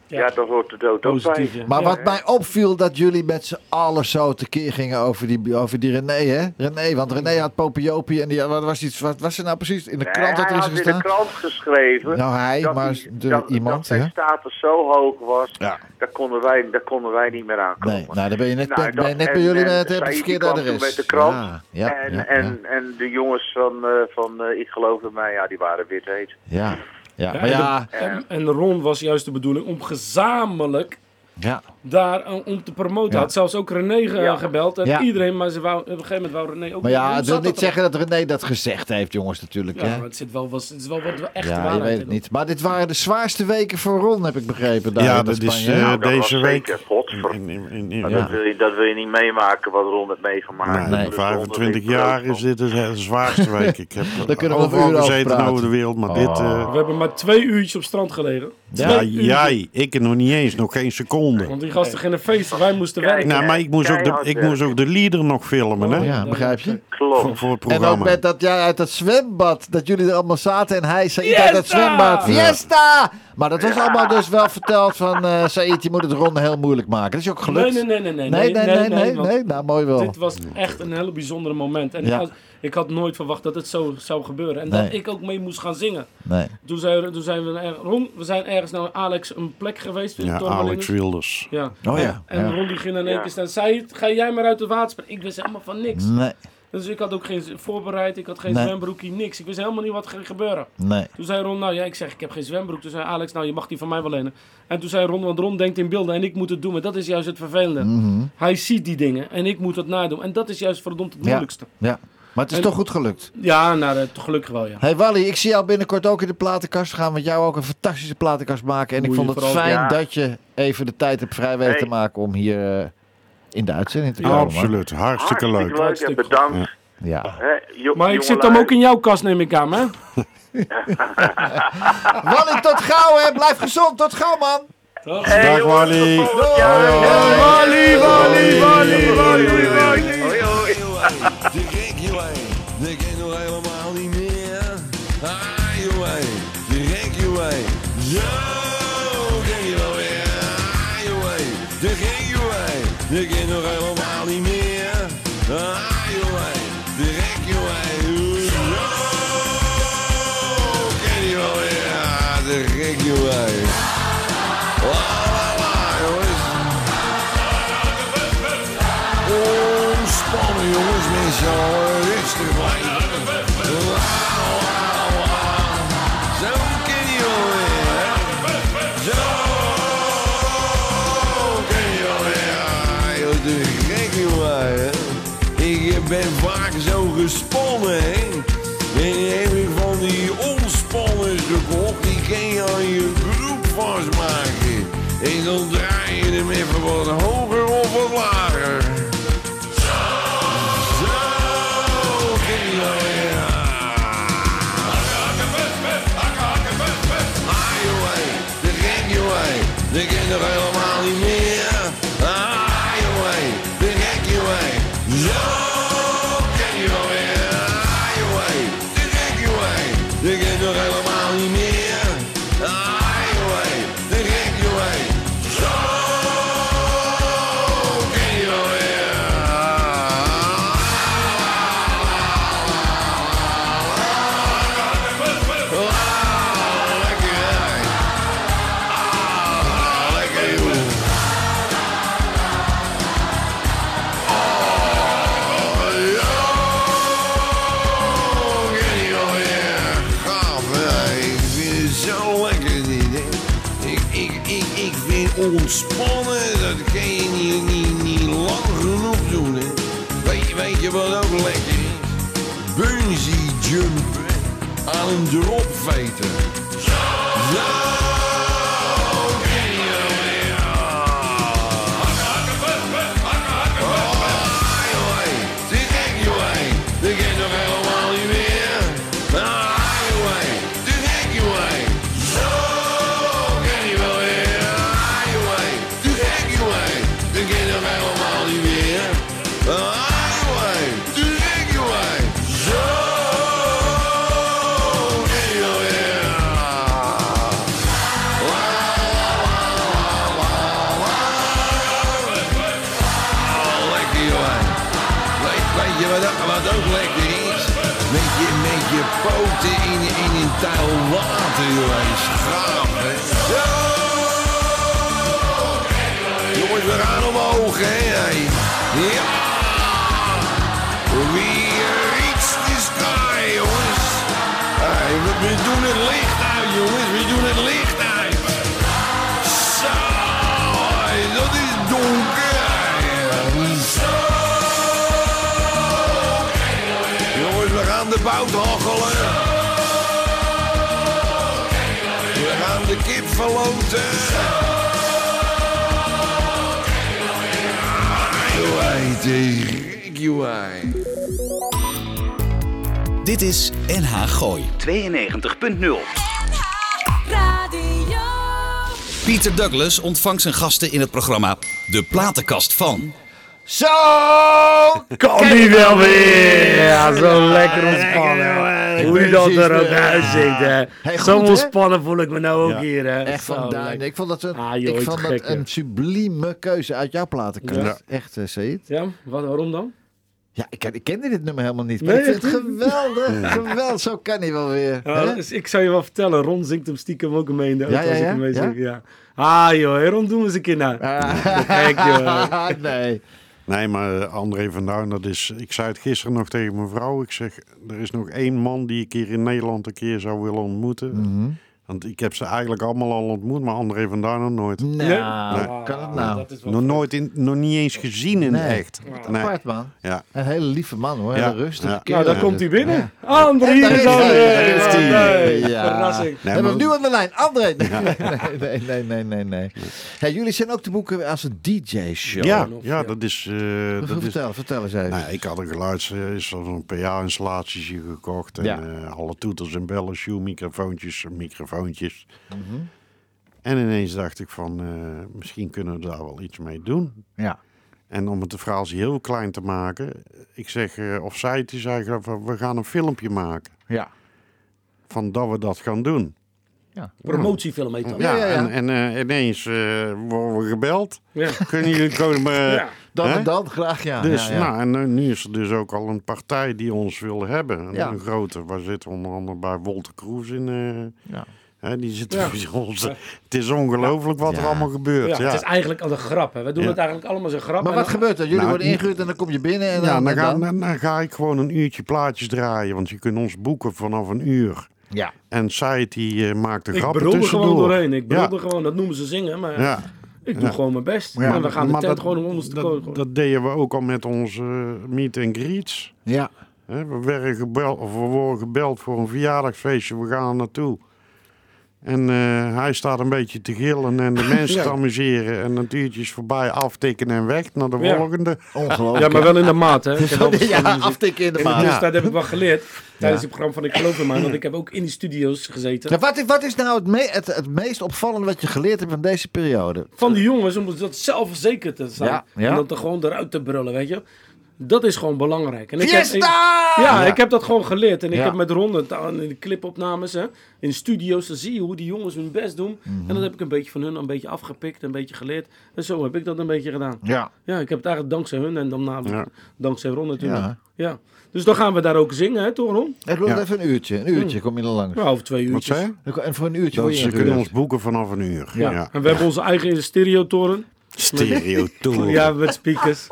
[SPEAKER 11] ja.
[SPEAKER 4] Ja.
[SPEAKER 11] dat hoort de dood ook bij.
[SPEAKER 4] positief, ja.
[SPEAKER 2] Maar
[SPEAKER 4] Ja.
[SPEAKER 2] wat mij opviel, dat jullie met z'n allen zo tekeer gingen over die, over die René, hè? René, want René had popiopie en die, wat was iets, wat was er nou precies? In de
[SPEAKER 11] Nee,
[SPEAKER 2] krant had er
[SPEAKER 11] hij
[SPEAKER 2] iets
[SPEAKER 11] had in de
[SPEAKER 2] gestaan?
[SPEAKER 11] krant geschreven...
[SPEAKER 2] Nou, hij,
[SPEAKER 11] dat
[SPEAKER 2] maar
[SPEAKER 11] die-
[SPEAKER 2] de-
[SPEAKER 11] dat, dat
[SPEAKER 2] iemand,
[SPEAKER 11] zijn
[SPEAKER 2] hè?
[SPEAKER 11] status zo hoog was,
[SPEAKER 2] Ja.
[SPEAKER 11] daar, konden wij, daar konden wij niet meer aankomen.
[SPEAKER 2] Nee, nou, dan ben je net,
[SPEAKER 11] Nou,
[SPEAKER 2] bij-
[SPEAKER 11] dat-
[SPEAKER 2] ben je net
[SPEAKER 11] en-
[SPEAKER 2] bij jullie
[SPEAKER 11] en
[SPEAKER 2] met
[SPEAKER 11] Saïd
[SPEAKER 2] het
[SPEAKER 11] die
[SPEAKER 2] verkeerde
[SPEAKER 11] kwam toen
[SPEAKER 2] adres.
[SPEAKER 11] met de krant.
[SPEAKER 2] Ja, ja,
[SPEAKER 11] en,
[SPEAKER 2] ja,
[SPEAKER 11] en, en de jongens van, eh, van eh, Ik Geloof in Mij, ja, die waren wit heet.
[SPEAKER 2] ja, ja. Ja,
[SPEAKER 4] Ja,
[SPEAKER 2] maar ja,
[SPEAKER 4] en, en- en Ron was juist de bedoeling om gezamenlijk
[SPEAKER 2] ja.
[SPEAKER 4] daar eh, om te promoten.
[SPEAKER 2] Ja.
[SPEAKER 4] Had zelfs ook René ge-
[SPEAKER 11] Ja.
[SPEAKER 4] gebeld. En
[SPEAKER 2] Ja.
[SPEAKER 4] iedereen, maar ze wou, op een gegeven moment wou René ook...
[SPEAKER 2] Maar ja,
[SPEAKER 4] Hoe
[SPEAKER 2] het
[SPEAKER 4] zat
[SPEAKER 2] wil niet
[SPEAKER 4] dat
[SPEAKER 2] zeggen dat René dat gezegd heeft, jongens, natuurlijk.
[SPEAKER 4] dan? Ja,
[SPEAKER 2] hè?
[SPEAKER 4] maar het, zit wel, was, het is wel wat we echt
[SPEAKER 2] Ja,
[SPEAKER 4] waarheid
[SPEAKER 2] je weet het
[SPEAKER 4] in.
[SPEAKER 2] niet. Maar dit waren de zwaarste weken voor Ron, heb ik begrepen. Daar
[SPEAKER 3] Ja,
[SPEAKER 2] in
[SPEAKER 3] dat is
[SPEAKER 2] Spanje.
[SPEAKER 3] eh,
[SPEAKER 11] Nou, dat was
[SPEAKER 3] deze week.
[SPEAKER 11] zeker, godver.
[SPEAKER 3] In- in- in- in-
[SPEAKER 11] Maar
[SPEAKER 3] ja.
[SPEAKER 11] dat, wil je, dat wil je niet meemaken wat Ron heeft meegemaakt.
[SPEAKER 3] Nee,
[SPEAKER 2] Nee.
[SPEAKER 11] Dus Ron
[SPEAKER 3] 25
[SPEAKER 11] is
[SPEAKER 3] jaar
[SPEAKER 11] groot
[SPEAKER 3] is dit de zwaarste week. Ik heb
[SPEAKER 2] Daar kunnen we nog
[SPEAKER 3] overal
[SPEAKER 2] uren over
[SPEAKER 3] gezeten
[SPEAKER 2] praten. Oh.
[SPEAKER 3] over de wereld, maar dit... eh,
[SPEAKER 4] We hebben maar twee uurtjes op strand gelegen.
[SPEAKER 3] ja,
[SPEAKER 4] Twee uurtjes.
[SPEAKER 3] jij, ik nog niet eens, nog geen seconde.
[SPEAKER 4] Want die gasten gingen feesten, wij moesten
[SPEAKER 11] Kijk,
[SPEAKER 4] werken.
[SPEAKER 3] Nou, maar ik moest, ook de,
[SPEAKER 11] Keihard
[SPEAKER 3] ik moest ook de leader nog filmen, hè?
[SPEAKER 2] Ja, begrijp je?
[SPEAKER 11] eh, Klopt.
[SPEAKER 3] Voor, voor het
[SPEAKER 2] En ook
[SPEAKER 3] programma.
[SPEAKER 2] met dat jij uit dat zwembad, dat jullie er allemaal zaten en hij zei uit dat
[SPEAKER 4] Fiesta!
[SPEAKER 2] zwembad. Fiesta! Maar dat was allemaal dus wel verteld van eh Said, je moet het ronde heel moeilijk maken. Dat is je ook
[SPEAKER 4] nee,
[SPEAKER 2] gelukt.
[SPEAKER 4] nee, nee, nee, nee,
[SPEAKER 2] nee, nee, nee, nee,
[SPEAKER 4] want
[SPEAKER 2] nee. Nou, mooi wel.
[SPEAKER 4] Dit was echt een heel bijzonder moment. En
[SPEAKER 2] Ja.
[SPEAKER 4] ik, had, ik had nooit verwacht dat het zo zou gebeuren. En dat
[SPEAKER 2] Nee.
[SPEAKER 4] ik ook mee moest gaan zingen.
[SPEAKER 2] Nee.
[SPEAKER 4] Toen zijn, toen zijn we naar Ron, we zijn ergens naar Alex een plek geweest. in
[SPEAKER 3] Ja,
[SPEAKER 4] Torrelinus.
[SPEAKER 3] Alex Wilders.
[SPEAKER 4] Ja.
[SPEAKER 2] Oh ja.
[SPEAKER 4] En
[SPEAKER 2] Ja.
[SPEAKER 4] Ron die ging in één
[SPEAKER 11] Ja.
[SPEAKER 4] keer staan. Zei, ga jij maar uit het water springen. Ik wist helemaal van niks.
[SPEAKER 2] Nee,
[SPEAKER 4] Dus ik had ook geen z- voorbereid, ik had geen
[SPEAKER 2] Nee.
[SPEAKER 4] zwembroekje, niks. Ik wist helemaal niet wat ging gebeuren.
[SPEAKER 2] nee.
[SPEAKER 4] Toen zei Ron, nou ja, ik zeg, ik heb geen zwembroek. Toen zei Alex, nou, je mag die van mij wel lenen. En toen zei Ron, want Ron denkt in beelden en ik moet het doen. Maar dat is juist het vervelende.
[SPEAKER 2] Mhm.
[SPEAKER 4] Hij ziet die dingen en ik moet dat nadoen. En dat is juist verdomd het
[SPEAKER 2] Ja.
[SPEAKER 4] moeilijkste.
[SPEAKER 2] ja. Maar het is
[SPEAKER 4] En-
[SPEAKER 2] toch goed gelukt.
[SPEAKER 4] Ja, nou, dat- gelukkig wel, ja.
[SPEAKER 2] Hey Wally, ik zie jou binnenkort ook in de platenkast gaan, want jou ook een fantastische platenkast maken. En ik
[SPEAKER 4] Moet je
[SPEAKER 2] vond het
[SPEAKER 4] vooral-
[SPEAKER 2] fijn
[SPEAKER 11] Ja.
[SPEAKER 2] dat je even de tijd hebt vrij weten
[SPEAKER 11] Hey.
[SPEAKER 2] te maken om hier eh, in de uitzending te komen. man.
[SPEAKER 3] Absoluut, hartstikke
[SPEAKER 11] Hartstikke
[SPEAKER 3] leuk.
[SPEAKER 11] leuk en
[SPEAKER 4] Hartstikke goed.
[SPEAKER 11] bedankt.
[SPEAKER 2] Ja.
[SPEAKER 11] Hè, jo-
[SPEAKER 4] Maar ik zit
[SPEAKER 11] jongelui.
[SPEAKER 4] dan ook in jouw kast, neem ik aan, hè?
[SPEAKER 2] Wally, tot gauw hè. Blijf gezond. Tot gauw man.
[SPEAKER 11] Hey,
[SPEAKER 3] Dag
[SPEAKER 11] jongens,
[SPEAKER 3] Wally.
[SPEAKER 11] tot volgend jaar.
[SPEAKER 3] Wally, Wally, Wally,
[SPEAKER 11] Hoi, hoi, hoi. Hoi, hoi.
[SPEAKER 12] Die gek, jongen, die ken je helemaal niet meer. Ah, jongen, die gek, jongen. Zo ken je wel weer. Ah, jongen, die gek, jongen, die ken je helemaal niet meer. Ah, jongen, die gek, jongen. Zo ken je wel weer. Ah, Die gek, jongen. La, la, la, jongens. Ontspannen jongens, mensen, hoor. rustig blijven. Wauw, wauw, wauw. Zo ken je alweer. hè? Zo ken je alweer. Ah, joh, de gek jongen. hè? Ik ben vaak zo gespannen, hè. En die heb ik van die ontspanners gekocht. Die ken je aan je groep vastmaken. En dan draai je hem even wat hoger of wat lager. Zo ken je alweer. Ah, jongen, de gek, jongen, de ken nog helemaal niet meer. Ah, jongen, de gek, jongen, zo ken je alweer. Ah, jongen, de gek, jongen, de ken nog helemaal niet meer. Ah, jongen, de gek, jongen, zo ken je alweer. Ontspannen, dat kan je niet, niet, niet lang genoeg doen. Hè. Weet, je- weet je wat ook lekker is? Bungee jumpen aan een dropveter. Zo ken je weer. Ah, joh, die gek, joh, die ken je nog helemaal niet meer. Ah, joh, die gek, joh.
[SPEAKER 6] je poten in, in een touw water, joh. En schapen. Zo! Jongens, we gaan omhoog, hè. Hey. Ja! We reach the sky, jongens. Hey, we, we doen het licht uit, jongens. We doen het licht uit. Zo! hey, Dat is donker. hey. Zo! Jongens, we gaan de bout hachelen. We gaan de kip verloten. Ah, joh, hey, het is gek, joh, hey.
[SPEAKER 1] Dit is NH Gooi.
[SPEAKER 13] 92.0.
[SPEAKER 5] Radio.
[SPEAKER 1] Pieter Douglas ontvangt zijn gasten in het programma De Platenkast van...
[SPEAKER 2] Zo! Kan
[SPEAKER 14] die wel weer! Ja, zo lekker ontspannen. Hoe je dat
[SPEAKER 2] precies,
[SPEAKER 14] er ook
[SPEAKER 2] ja.
[SPEAKER 14] uitziet, hè. zo
[SPEAKER 2] Hey, goed, hè?
[SPEAKER 14] ontspannen voel ik me nou ook hier, hè.
[SPEAKER 2] Echt
[SPEAKER 14] Zo
[SPEAKER 2] van Duin.
[SPEAKER 14] lekker.
[SPEAKER 2] Ik vond dat een,
[SPEAKER 14] Ah, joh,
[SPEAKER 2] ik
[SPEAKER 14] je
[SPEAKER 2] vond dat
[SPEAKER 14] gekke.
[SPEAKER 2] een sublieme keuze uit jouw platenkast.
[SPEAKER 4] Ja.
[SPEAKER 2] Echt, uh, Said.
[SPEAKER 4] Ja, wat, waarom dan?
[SPEAKER 2] Ja, ik, ken- ik kende dit nummer helemaal niet. Maar
[SPEAKER 4] Nee,
[SPEAKER 2] ik vind het
[SPEAKER 4] echt
[SPEAKER 2] geweldig. geweldig. Zo kan hij wel weer.
[SPEAKER 4] Ja,
[SPEAKER 2] hè?
[SPEAKER 4] dus ik zou je wel vertellen, Ron zingt hem stiekem ook mee in de auto
[SPEAKER 2] Ja, ja,
[SPEAKER 4] als ik
[SPEAKER 2] ja?
[SPEAKER 4] hem mee
[SPEAKER 2] Ja?
[SPEAKER 4] zing. Ja? Ah joh, hey, Ron, doen we eens een keer na. Kijk joh.
[SPEAKER 2] nee.
[SPEAKER 3] Nee, maar eh, André van Duin, dat is... Ik zei het gisteren nog tegen mijn vrouw. Ik zeg, er is nog één man die ik hier in Nederland een keer zou willen ontmoeten.
[SPEAKER 2] Mm.
[SPEAKER 3] Want ik heb ze eigenlijk allemaal al ontmoet, maar André van Duin nog nooit.
[SPEAKER 2] Nou,
[SPEAKER 3] Nee.
[SPEAKER 2] kan het nou?
[SPEAKER 4] Dat is wel
[SPEAKER 3] Nog nooit, in, nog niet eens gezien in
[SPEAKER 2] Nee.
[SPEAKER 3] echt. Nee.
[SPEAKER 2] Apart, man.
[SPEAKER 3] Ja.
[SPEAKER 2] Een hele lieve man, hoor.
[SPEAKER 3] Ja.
[SPEAKER 2] Hele rustig.
[SPEAKER 3] Ja.
[SPEAKER 4] Nou, daar komt hij binnen. André
[SPEAKER 2] En daar
[SPEAKER 4] is
[SPEAKER 2] is
[SPEAKER 4] dan
[SPEAKER 2] hij.
[SPEAKER 4] weer.
[SPEAKER 2] Daar is hij.
[SPEAKER 4] Nee,
[SPEAKER 2] Ja.
[SPEAKER 4] Verrassing.
[SPEAKER 2] We
[SPEAKER 3] Nee,
[SPEAKER 2] hebben hem
[SPEAKER 3] maar-
[SPEAKER 2] nu aan de lijn. André. Nee, nee, nee, nee, nee. nee. Ja, jullie zijn ook te boeken als een DJ-show.
[SPEAKER 3] Ja, ja, dat is... eh, dat is
[SPEAKER 2] vertel, vertel eens even.
[SPEAKER 3] Nou, ik had een geluids, eh, is al een PA-installatie gekocht. En
[SPEAKER 2] Ja.
[SPEAKER 3] eh, alle toeters en bellen, shoe, microfoontjes, microfoontjes.
[SPEAKER 2] Mhm.
[SPEAKER 3] En ineens dacht ik van, eh, misschien kunnen we daar wel iets mee doen.
[SPEAKER 2] Ja.
[SPEAKER 3] En om het verhaal heel klein te maken, ik zeg, eh, of zij het is eigenlijk, van, we gaan een filmpje maken.
[SPEAKER 2] Ja.
[SPEAKER 3] Van dat we dat gaan doen.
[SPEAKER 4] Promotiefilm heet dat.
[SPEAKER 3] Ja,
[SPEAKER 2] ja, ja.
[SPEAKER 3] en, en eh, ineens eh, worden we gebeld.
[SPEAKER 4] Ja.
[SPEAKER 3] Kunnen jullie komen... eh,
[SPEAKER 4] Ja.
[SPEAKER 2] Dan
[SPEAKER 3] hè?
[SPEAKER 2] en dan, graag ja.
[SPEAKER 3] Dus,
[SPEAKER 2] ja, ja.
[SPEAKER 3] Nou, en eh, nu is er dus ook al een partij die ons wil hebben. Een-
[SPEAKER 2] Ja.
[SPEAKER 3] Een grote. Waar zit onder andere bij Wolter Kroes in. eh,
[SPEAKER 2] Ja.
[SPEAKER 3] hè, die zit bij ons. Het is ongelooflijk wat
[SPEAKER 2] Ja.
[SPEAKER 3] er allemaal gebeurt.
[SPEAKER 4] Ja,
[SPEAKER 3] Ja,
[SPEAKER 4] Het is eigenlijk al een grap. Hè. We doen het eigenlijk allemaal als een grap.
[SPEAKER 2] Maar
[SPEAKER 4] En
[SPEAKER 2] wat
[SPEAKER 4] dan-
[SPEAKER 2] gebeurt er? Jullie
[SPEAKER 3] Nou,
[SPEAKER 2] worden
[SPEAKER 3] ik-
[SPEAKER 2] ingehuurd en dan kom je binnen en
[SPEAKER 3] Ja,
[SPEAKER 2] dan...
[SPEAKER 3] dan,
[SPEAKER 2] en
[SPEAKER 3] ga,
[SPEAKER 2] eh, dan?
[SPEAKER 3] dan, dan ga ik gewoon een uurtje plaatjes draaien. Want je kunt ons boeken vanaf een uur.
[SPEAKER 2] Ja.
[SPEAKER 3] En Said die eh, maakt de
[SPEAKER 4] Ik
[SPEAKER 3] grappen
[SPEAKER 4] brul er
[SPEAKER 3] tussendoor.
[SPEAKER 4] gewoon doorheen. Ik brul
[SPEAKER 3] Ja.
[SPEAKER 4] er gewoon, dat noemen ze zingen. Maar
[SPEAKER 3] Ja.
[SPEAKER 4] Eh, ik doe gewoon mijn best. en we gaan de
[SPEAKER 3] maar
[SPEAKER 4] tent gewoon om ons te
[SPEAKER 3] dat-
[SPEAKER 4] koken.
[SPEAKER 3] Dat deden we ook al met onze eh, meet and greets.
[SPEAKER 2] Ja.
[SPEAKER 3] Hè, we, werden gebeld, of we worden gebeld voor een verjaardagsfeestje, we gaan er naartoe. En eh, hij staat een beetje te gillen en de mensen te amuseren. En het uurtje is voorbij, aftikkenen en weg naar de
[SPEAKER 4] Ja.
[SPEAKER 3] volgende.
[SPEAKER 2] Ongelooflijk.
[SPEAKER 4] Ja, maar wel in de maat. Hè. Ik heb altijd
[SPEAKER 2] Ja,
[SPEAKER 4] gewoon muziek.
[SPEAKER 2] aftikken in de
[SPEAKER 4] In de
[SPEAKER 2] maat.
[SPEAKER 4] tussentijd heb ik wel geleerd tijdens het programma van Ik Geloof in Mij. Want ik heb ook in die studio's gezeten.
[SPEAKER 2] Ja, wat, is- wat is nou het, me- het, het meest opvallende wat je geleerd hebt in deze periode?
[SPEAKER 4] Van die jongens om dat zelfverzekerd te zijn.
[SPEAKER 2] Eh, Ja, ja.
[SPEAKER 4] En dat er gewoon eruit te brullen, weet je. Dat is gewoon belangrijk. En ik heb-
[SPEAKER 2] Fiesta!
[SPEAKER 4] Ja, ik heb dat gewoon geleerd. En ik
[SPEAKER 2] Ja.
[SPEAKER 4] heb met ronden in de clipopnames, hè, in de studio's, dan zie je hoe die jongens hun best doen.
[SPEAKER 2] Mhm.
[SPEAKER 4] En dat heb ik een beetje van hun een beetje afgepikt, een beetje geleerd. En zo heb ik dat een beetje gedaan.
[SPEAKER 2] Ja.
[SPEAKER 4] Ja, ik heb het eigenlijk dankzij hun en dan na,
[SPEAKER 3] Ja.
[SPEAKER 4] dankzij Ron natuurlijk.
[SPEAKER 2] Ja.
[SPEAKER 4] Ja. Dus dan gaan we daar ook zingen, hè, toch Ron?
[SPEAKER 2] Het loopt
[SPEAKER 3] Ja.
[SPEAKER 2] even een uurtje. Een uurtje kom je er langs.
[SPEAKER 4] Hmm. Ja, of twee
[SPEAKER 3] Wat
[SPEAKER 4] uurtjes.
[SPEAKER 3] zei je?
[SPEAKER 2] Dan- En voor een uurtje
[SPEAKER 3] Dat
[SPEAKER 2] word je
[SPEAKER 3] ze kunnen ons
[SPEAKER 2] ingehuurd.
[SPEAKER 3] boeken vanaf een uur.
[SPEAKER 4] Ja.
[SPEAKER 3] Ja.
[SPEAKER 4] En we hebben onze eigen stereotoren.
[SPEAKER 3] Stereotour.
[SPEAKER 4] Ja, met speakers.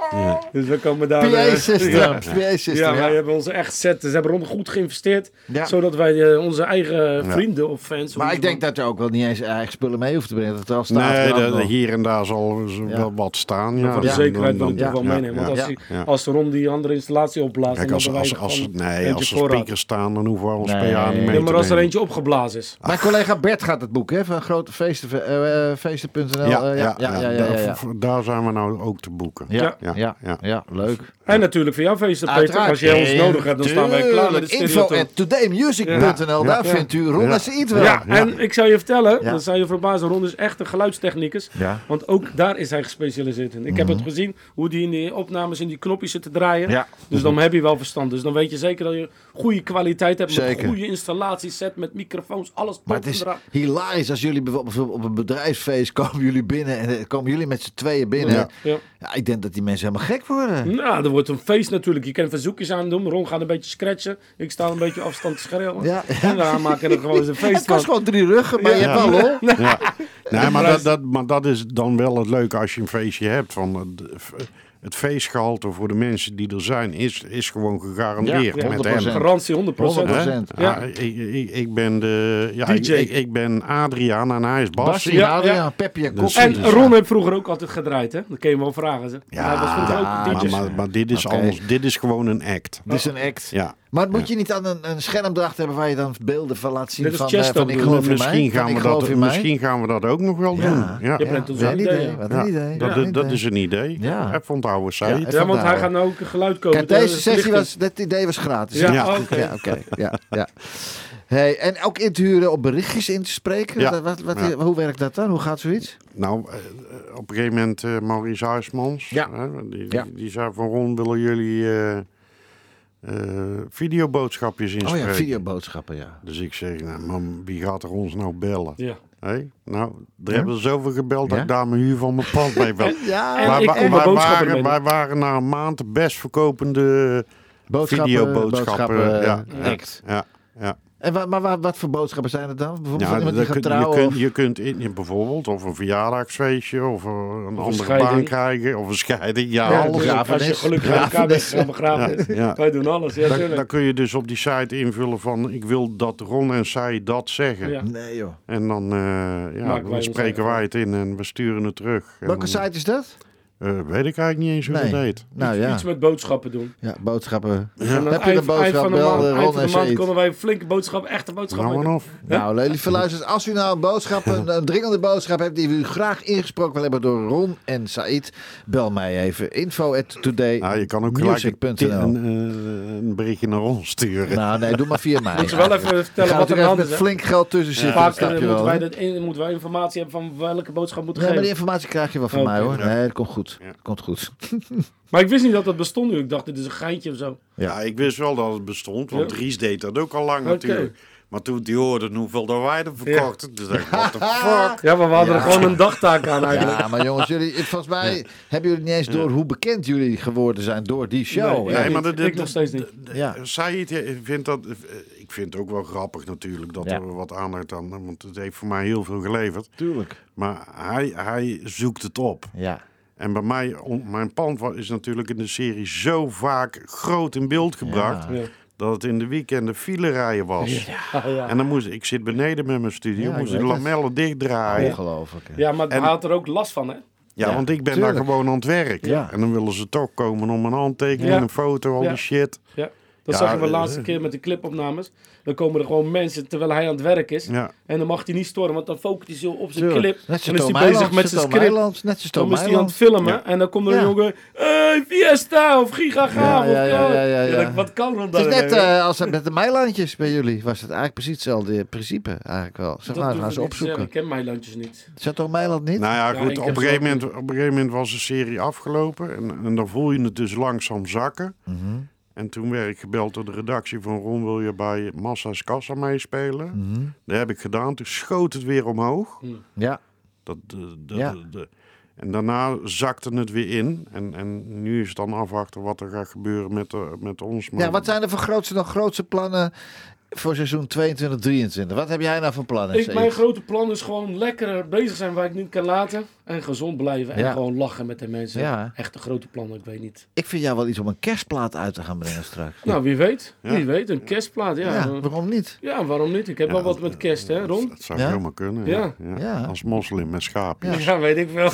[SPEAKER 4] Dus we komen daar... eh,
[SPEAKER 2] PA-system. PA-system,
[SPEAKER 4] Ja, wij
[SPEAKER 2] ja.
[SPEAKER 4] hebben onze echt set. Ze hebben Ron goed geïnvesteerd.
[SPEAKER 2] Ja.
[SPEAKER 4] Zodat wij eh, onze eigen vrienden of fans.
[SPEAKER 2] Maar ik denk dat je ook wel niet eens eigen spullen mee hoeft te brengen. Dat het al staat.
[SPEAKER 3] Nee,
[SPEAKER 2] er
[SPEAKER 3] de-
[SPEAKER 2] allemaal.
[SPEAKER 3] de- hier en daar zal ze
[SPEAKER 2] Ja.
[SPEAKER 3] wel wat staan. Ja.
[SPEAKER 4] Voor de
[SPEAKER 3] Dan-
[SPEAKER 4] zekerheid wil
[SPEAKER 3] dan-
[SPEAKER 4] ik toch wel
[SPEAKER 3] ja,
[SPEAKER 4] meenemen. Want
[SPEAKER 3] ja.
[SPEAKER 4] als,
[SPEAKER 2] ja.
[SPEAKER 4] die-
[SPEAKER 3] Ja.
[SPEAKER 4] als Ron die andere installatie opblaast.
[SPEAKER 3] Kijk,
[SPEAKER 4] dan
[SPEAKER 3] als,
[SPEAKER 4] hebben wij
[SPEAKER 3] als,
[SPEAKER 4] er
[SPEAKER 3] als,
[SPEAKER 4] gewoon
[SPEAKER 3] nee,
[SPEAKER 4] eentje
[SPEAKER 3] als er
[SPEAKER 4] voorraad.
[SPEAKER 3] speakers staan, dan hoeven we ons
[SPEAKER 2] Nee.
[SPEAKER 3] PA niet mee
[SPEAKER 4] Ja, maar
[SPEAKER 3] te
[SPEAKER 4] als er
[SPEAKER 3] nemen.
[SPEAKER 4] eentje opgeblazen is.
[SPEAKER 2] Mijn collega Bert gaat het boeken hè, van grote feesten, eh, eh, feesten.nl. eh,
[SPEAKER 3] Ja, ja,
[SPEAKER 2] ja, ja,
[SPEAKER 3] ja,
[SPEAKER 2] ja, ja,
[SPEAKER 3] daar-
[SPEAKER 2] ja.
[SPEAKER 3] voor- Daar zijn we nou ook te boeken.
[SPEAKER 2] Ja, ja,
[SPEAKER 3] Ja,
[SPEAKER 2] ja,
[SPEAKER 3] ja.
[SPEAKER 2] ja, leuk.
[SPEAKER 4] En natuurlijk voor jouw feesten, Peter.
[SPEAKER 2] Uiteraard.
[SPEAKER 4] Als jij ons
[SPEAKER 2] Nee,
[SPEAKER 4] nodig hebt, dan staan wij klaar met
[SPEAKER 2] tuurlijk.
[SPEAKER 4] het
[SPEAKER 2] Info
[SPEAKER 4] stereotype.
[SPEAKER 2] at todaymusic.nl, daar vindt u Ron
[SPEAKER 3] Ja.
[SPEAKER 2] en Said wel.
[SPEAKER 4] Ja, en ik zou je vertellen,
[SPEAKER 2] Ja.
[SPEAKER 4] dat zou je verbazen, Ron is echt een geluidstechnicus.
[SPEAKER 2] Ja. Mhm.
[SPEAKER 4] Want ook daar is hij gespecialiseerd in. Ik heb het gezien, hoe die in die opnames in die knopjes zit te draaien.
[SPEAKER 2] Ja.
[SPEAKER 4] Dus dan heb je wel verstand. Dus dan weet je zeker dat je goede kwaliteit hebt. Met
[SPEAKER 2] Zeker.
[SPEAKER 4] een goede installatieset, met microfoons, alles
[SPEAKER 2] Maar
[SPEAKER 4] top
[SPEAKER 2] het is
[SPEAKER 4] en eraan.
[SPEAKER 2] hilarisch als jullie bijvoorbeeld op een bedrijfsfeest komen jullie binnen en eh, komen jullie met met z'n tweeën binnen.
[SPEAKER 4] Ja.
[SPEAKER 2] Ja.
[SPEAKER 4] Ja.
[SPEAKER 2] ik denk dat die mensen helemaal gek worden.
[SPEAKER 4] Nou, er wordt een feest natuurlijk. Je kan verzoekjes aan doen. Ron gaat een beetje scratchen. Ik sta een beetje afstand te schreeuwen.
[SPEAKER 2] Ja.
[SPEAKER 4] En we maken er gewoon eens een feest
[SPEAKER 2] Het
[SPEAKER 4] van.
[SPEAKER 2] kost gewoon drie ruggen, maar je hebt wel lol.
[SPEAKER 3] Ja. Nee, maar dat, dat, maar dat is dan wel het leuke als je een feestje hebt. Van het, het feestgehalte voor de mensen die er zijn is, is gewoon gegarandeerd.
[SPEAKER 4] Ja,
[SPEAKER 3] met
[SPEAKER 4] 100%.
[SPEAKER 3] hem.
[SPEAKER 4] Garantie 100%.
[SPEAKER 3] Hè?
[SPEAKER 4] 100%, ja.
[SPEAKER 3] Ja, ik, ik, ik ben de, ja, ik,
[SPEAKER 4] DJ.
[SPEAKER 3] ik, ik ben Adriaan en hij is Bas.
[SPEAKER 2] Bassie,
[SPEAKER 4] Ja,
[SPEAKER 2] Adriaan,
[SPEAKER 4] ja.
[SPEAKER 2] Pepje en
[SPEAKER 3] Dus-
[SPEAKER 2] Kokkie.
[SPEAKER 4] En Ron heeft vroeger ook altijd gedraaid, hè? Dat kun je hem wel vragen. Ze.
[SPEAKER 3] Ja,
[SPEAKER 4] Hij was vroeger
[SPEAKER 2] ja,
[SPEAKER 4] ook
[SPEAKER 3] maar,
[SPEAKER 4] DJ.
[SPEAKER 3] Ah, maar, maar dit is
[SPEAKER 2] Oké.
[SPEAKER 3] anders. Dit is gewoon een act.
[SPEAKER 2] Dit is een act.
[SPEAKER 3] Ja.
[SPEAKER 2] Maar moet je niet aan een, een scherm erachter hebben waar je dan beelden van laat zien
[SPEAKER 4] Dit is
[SPEAKER 2] van, eh,
[SPEAKER 4] Chesto
[SPEAKER 2] van ik
[SPEAKER 4] doen.
[SPEAKER 2] geloof in mij,
[SPEAKER 3] Misschien,
[SPEAKER 2] van
[SPEAKER 3] gaan
[SPEAKER 2] ik
[SPEAKER 3] we
[SPEAKER 2] geloof
[SPEAKER 3] dat,
[SPEAKER 2] in mij.
[SPEAKER 3] misschien gaan we dat ook nog wel
[SPEAKER 2] Ja.
[SPEAKER 3] doen. Ja.
[SPEAKER 4] Je bent ons
[SPEAKER 2] wat
[SPEAKER 4] aan
[SPEAKER 2] een
[SPEAKER 4] het
[SPEAKER 2] idee,
[SPEAKER 4] idee,
[SPEAKER 2] wat
[SPEAKER 3] Ja,
[SPEAKER 2] een idee.
[SPEAKER 3] Dat,
[SPEAKER 2] wat een
[SPEAKER 3] dat
[SPEAKER 2] idee.
[SPEAKER 3] is een idee.
[SPEAKER 2] Ja.
[SPEAKER 3] Ja. Van het oude
[SPEAKER 2] Ja,
[SPEAKER 3] zij.
[SPEAKER 2] even
[SPEAKER 4] Ja, want
[SPEAKER 2] daar.
[SPEAKER 4] hij gaat nou ook een geluid komen.
[SPEAKER 2] Kijk,
[SPEAKER 4] door
[SPEAKER 2] deze
[SPEAKER 4] de
[SPEAKER 2] sessie
[SPEAKER 4] verlichting.
[SPEAKER 2] was, dat idee was gratis.
[SPEAKER 4] Ja,
[SPEAKER 3] Ja.
[SPEAKER 4] oké.
[SPEAKER 2] Ja, oké. Ja, ja. Hey, en ook inturen om berichtjes in te spreken.
[SPEAKER 3] Ja.
[SPEAKER 2] Wat, wat, wat-
[SPEAKER 3] Ja.
[SPEAKER 2] Hoe werkt dat dan? Hoe gaat zoiets?
[SPEAKER 3] Nou, eh, eh, op een gegeven moment eh, Maurice Huismans.
[SPEAKER 2] Ja.
[SPEAKER 3] hè, die,
[SPEAKER 2] Ja.
[SPEAKER 3] die zei van Ron, willen jullie eh, eh, videoboodschapjes
[SPEAKER 2] Oh
[SPEAKER 3] inspreken?
[SPEAKER 2] ja, videoboodschappen, ja.
[SPEAKER 3] Dus ik zeg, nou, mam, wie gaat er ons nou bellen?
[SPEAKER 4] Ja.
[SPEAKER 3] Hé? Nou, er hebben zoveel gebeld dat ik daar mijn huur van mijn pand mee wil.
[SPEAKER 2] Ja,
[SPEAKER 4] En
[SPEAKER 3] Wij,
[SPEAKER 4] ik
[SPEAKER 3] wa-
[SPEAKER 4] kon mijn
[SPEAKER 3] wij
[SPEAKER 4] boodschappen
[SPEAKER 3] waren,
[SPEAKER 4] mee
[SPEAKER 3] wij waren na een maand de best verkopende videoboodschappen. ja,
[SPEAKER 2] eh,
[SPEAKER 3] ja,
[SPEAKER 2] act.
[SPEAKER 3] ja, ja.
[SPEAKER 2] En wa- maar wa- wat voor boodschappen zijn het dan? Bijvoorbeeld
[SPEAKER 3] Ja,
[SPEAKER 2] van iemand die
[SPEAKER 3] dat
[SPEAKER 2] gaat
[SPEAKER 3] Nou, kun-
[SPEAKER 2] trouwen?
[SPEAKER 3] je,
[SPEAKER 2] of-
[SPEAKER 3] kunt, je kunt in, in bijvoorbeeld of een verjaardagsfeestje of eh, een andere
[SPEAKER 4] scheiding.
[SPEAKER 3] baan krijgen of een scheiding. Ja,
[SPEAKER 4] Ja,
[SPEAKER 3] alles.
[SPEAKER 4] dus als je
[SPEAKER 2] Begrafenis.
[SPEAKER 4] gelukkig bij elkaar bent, gaan begraven.
[SPEAKER 3] Ja, ja.
[SPEAKER 4] Wij doen alles, ja,
[SPEAKER 3] Dan, dan
[SPEAKER 4] tuurlijk.
[SPEAKER 3] kun je dus op die site invullen van ik wil dat Ron en zij dat zeggen.
[SPEAKER 4] Ja.
[SPEAKER 2] Nee joh.
[SPEAKER 3] En dan, eh, ja,
[SPEAKER 4] Maken wij
[SPEAKER 3] dan
[SPEAKER 4] ons
[SPEAKER 3] spreken
[SPEAKER 4] eigen.
[SPEAKER 3] wij het in en we sturen het terug. En
[SPEAKER 2] Welke
[SPEAKER 3] dan-
[SPEAKER 2] site is dat?
[SPEAKER 3] Eh, weet ik eigenlijk niet eens hoe dat heet.
[SPEAKER 2] Nou ja.
[SPEAKER 4] Iets met boodschappen doen.
[SPEAKER 2] ja boodschappen.
[SPEAKER 4] En aan het
[SPEAKER 2] Heb je
[SPEAKER 4] eind,
[SPEAKER 2] een
[SPEAKER 4] eind
[SPEAKER 2] boodschap?
[SPEAKER 4] van de
[SPEAKER 2] Bel
[SPEAKER 4] maand,
[SPEAKER 2] eh,
[SPEAKER 4] eind
[SPEAKER 2] Ron
[SPEAKER 4] van
[SPEAKER 2] en
[SPEAKER 4] de maand
[SPEAKER 2] Said.
[SPEAKER 4] konden wij een flinke boodschap, echte boodschap
[SPEAKER 3] Nou en
[SPEAKER 4] maken.
[SPEAKER 3] of.
[SPEAKER 2] Nou, lieve luisteraars, als u nou een boodschap, een, een dringende boodschap hebt die u graag ingesproken wil hebben door Ron en Said, bel mij even. Info at today.
[SPEAKER 3] Nou, je kan ook gelijk een,
[SPEAKER 2] music.nl.
[SPEAKER 3] een, eh, een berichtje naar ons sturen.
[SPEAKER 2] Nou, nee, doe maar via mij.
[SPEAKER 4] Moet je wel even eh, vertellen
[SPEAKER 2] Gaat
[SPEAKER 4] wat
[SPEAKER 2] er
[SPEAKER 4] er aan de hand
[SPEAKER 2] even
[SPEAKER 4] is.
[SPEAKER 2] met
[SPEAKER 4] hè?
[SPEAKER 2] flink geld tussen zitten,
[SPEAKER 4] Vaak
[SPEAKER 2] snap
[SPEAKER 4] eh,
[SPEAKER 2] je
[SPEAKER 4] moeten
[SPEAKER 2] wel.
[SPEAKER 4] wij,
[SPEAKER 2] hè?
[SPEAKER 4] dat in- moeten wij informatie hebben van welke boodschap moeten
[SPEAKER 2] Nee, maar
[SPEAKER 4] geven.
[SPEAKER 2] die informatie krijg je wel van
[SPEAKER 4] Oké.
[SPEAKER 2] mij hoor.
[SPEAKER 3] Ja.
[SPEAKER 2] Nee, dat komt goed.
[SPEAKER 3] Ja.
[SPEAKER 2] Komt goed.
[SPEAKER 4] Maar ik wist niet dat dat bestond nu. Ik dacht, dit is een geintje of zo.
[SPEAKER 3] Ja, ik wist wel dat het bestond, want
[SPEAKER 4] Ja.
[SPEAKER 3] Dries deed dat ook al lang
[SPEAKER 4] Oké.
[SPEAKER 3] natuurlijk. Maar toen die hoorden hoeveel dat wij er verkochten, toen dacht ik, what the fuck?
[SPEAKER 4] Ja, maar we hadden
[SPEAKER 2] Ja.
[SPEAKER 4] er gewoon een dagtaak aan eigenlijk.
[SPEAKER 2] Ja, maar jongens, jullie, volgens mij hebben jullie niet eens door hoe bekend jullie geworden zijn door die show.
[SPEAKER 4] Nee,
[SPEAKER 2] hè?
[SPEAKER 4] ja.
[SPEAKER 3] maar
[SPEAKER 4] ik nog steeds niet.
[SPEAKER 2] Ja.
[SPEAKER 3] Said eh, vindt dat, eh, ik vind het ook wel grappig natuurlijk dat
[SPEAKER 2] Ja.
[SPEAKER 3] er wat aandacht aan, want het heeft voor mij heel veel geleverd.
[SPEAKER 2] Tuurlijk.
[SPEAKER 3] Maar hij, hij zoekt het op.
[SPEAKER 2] Ja.
[SPEAKER 3] En bij mij, on- mijn pand wa- is natuurlijk in de serie zo vaak groot in beeld gebracht.
[SPEAKER 4] Ja. Ja.
[SPEAKER 3] Dat het in de weekenden file rijden was. En dan moest ik zit beneden met mijn studio,
[SPEAKER 2] Ja, ik
[SPEAKER 3] moest ik
[SPEAKER 2] weet
[SPEAKER 3] de
[SPEAKER 2] het.
[SPEAKER 3] lamellen dichtdraaien. Ja,
[SPEAKER 2] Ongelooflijk. hè.
[SPEAKER 4] Ja, maar hij
[SPEAKER 3] En-
[SPEAKER 4] had er ook last van, hè?
[SPEAKER 2] Ja,
[SPEAKER 3] want ik ben
[SPEAKER 2] tuurlijk.
[SPEAKER 3] daar gewoon aan het werk.
[SPEAKER 2] Ja.
[SPEAKER 3] En dan willen ze toch komen om een handtekening,
[SPEAKER 4] Ja.
[SPEAKER 3] een foto, al
[SPEAKER 4] Ja.
[SPEAKER 3] die shit.
[SPEAKER 4] Ja. Dat
[SPEAKER 3] Ja,
[SPEAKER 4] zag ik de
[SPEAKER 3] eh,
[SPEAKER 4] laatste keer met de clipopnames. Dan komen er gewoon mensen terwijl hij aan het werk is.
[SPEAKER 3] Ja.
[SPEAKER 4] En dan mag hij niet storen, want dan focust hij zo op zijn
[SPEAKER 2] Tuurlijk.
[SPEAKER 4] clip.
[SPEAKER 2] Net
[SPEAKER 4] en
[SPEAKER 2] zoals
[SPEAKER 4] is
[SPEAKER 2] Tom
[SPEAKER 4] hij bezig
[SPEAKER 2] Eiland,
[SPEAKER 4] met zijn
[SPEAKER 2] Tom
[SPEAKER 4] script.
[SPEAKER 2] Eiland, net zoals
[SPEAKER 4] Dan
[SPEAKER 2] Tom
[SPEAKER 4] is hij aan het
[SPEAKER 2] Eiland.
[SPEAKER 4] filmen
[SPEAKER 3] Ja.
[SPEAKER 4] en dan komt er een
[SPEAKER 2] Ja.
[SPEAKER 4] jongen... Hey, Fiesta of Giga Gaaf
[SPEAKER 2] ja,
[SPEAKER 4] of
[SPEAKER 2] ja, ja, ja,
[SPEAKER 4] Ja,
[SPEAKER 2] ja.
[SPEAKER 4] dat- Wat kan dan
[SPEAKER 2] Het is net
[SPEAKER 4] daarmee?
[SPEAKER 2] eh, als met de Meilandjes bij jullie. Was het eigenlijk precies hetzelfde principe eigenlijk wel. Zeg
[SPEAKER 4] Dat
[SPEAKER 2] maar,
[SPEAKER 4] durf
[SPEAKER 2] gaan
[SPEAKER 4] ik
[SPEAKER 2] ze
[SPEAKER 4] niet te zeggen. Ik
[SPEAKER 2] opzoeken.
[SPEAKER 4] ken mijn landjes niet.
[SPEAKER 2] Zat toch Meiland niet?
[SPEAKER 3] Nou ja,
[SPEAKER 4] Ja,
[SPEAKER 3] goed,
[SPEAKER 4] ik
[SPEAKER 3] op,
[SPEAKER 4] heb
[SPEAKER 3] een
[SPEAKER 4] ze
[SPEAKER 3] gegeven
[SPEAKER 4] ook
[SPEAKER 3] moment, op een gegeven moment was de serie afgelopen. En, en dan voel je het dus langzaam zakken.
[SPEAKER 2] Mhm.
[SPEAKER 3] En toen werd ik gebeld door de redactie van Ron, wil je bij Massa's Kassa meespelen?
[SPEAKER 2] Hm.
[SPEAKER 3] Dat heb ik gedaan. Toen schoot het weer omhoog.
[SPEAKER 4] Hmm.
[SPEAKER 2] Ja.
[SPEAKER 3] Dat, eh, dat-
[SPEAKER 2] Ja.
[SPEAKER 3] de- en daarna zakte het weer in. En, en nu is het dan afwachten wat er gaat gebeuren met, eh, met ons. Maar
[SPEAKER 2] ja, wat zijn er voor grootste, nog grootste plannen voor seizoen 22, 23? Wat heb jij nou voor plannen?
[SPEAKER 4] Ik,
[SPEAKER 2] Said?
[SPEAKER 4] mijn grote plan is gewoon lekker bezig zijn waar ik niet kan laten. En gezond blijven. En
[SPEAKER 2] Ja.
[SPEAKER 4] gewoon lachen met de mensen.
[SPEAKER 2] Ja.
[SPEAKER 4] Echt een grote plan, ik weet niet.
[SPEAKER 2] Ik vind jou wel iets om een kerstplaat uit te gaan brengen straks.
[SPEAKER 4] Nou, wie weet.
[SPEAKER 3] Ja.
[SPEAKER 4] Wie weet, een kerstplaat. Ja.
[SPEAKER 2] Ja,
[SPEAKER 4] Ja.
[SPEAKER 2] waarom niet?
[SPEAKER 4] waarom niet? Ik heb wel wat met kerst, hè, Ron?
[SPEAKER 3] Dat zou
[SPEAKER 2] Ja?
[SPEAKER 3] helemaal kunnen. Ja. Ja.
[SPEAKER 2] Ja.
[SPEAKER 3] Als moslim met schaapjes.
[SPEAKER 4] Ja, weet ik wel.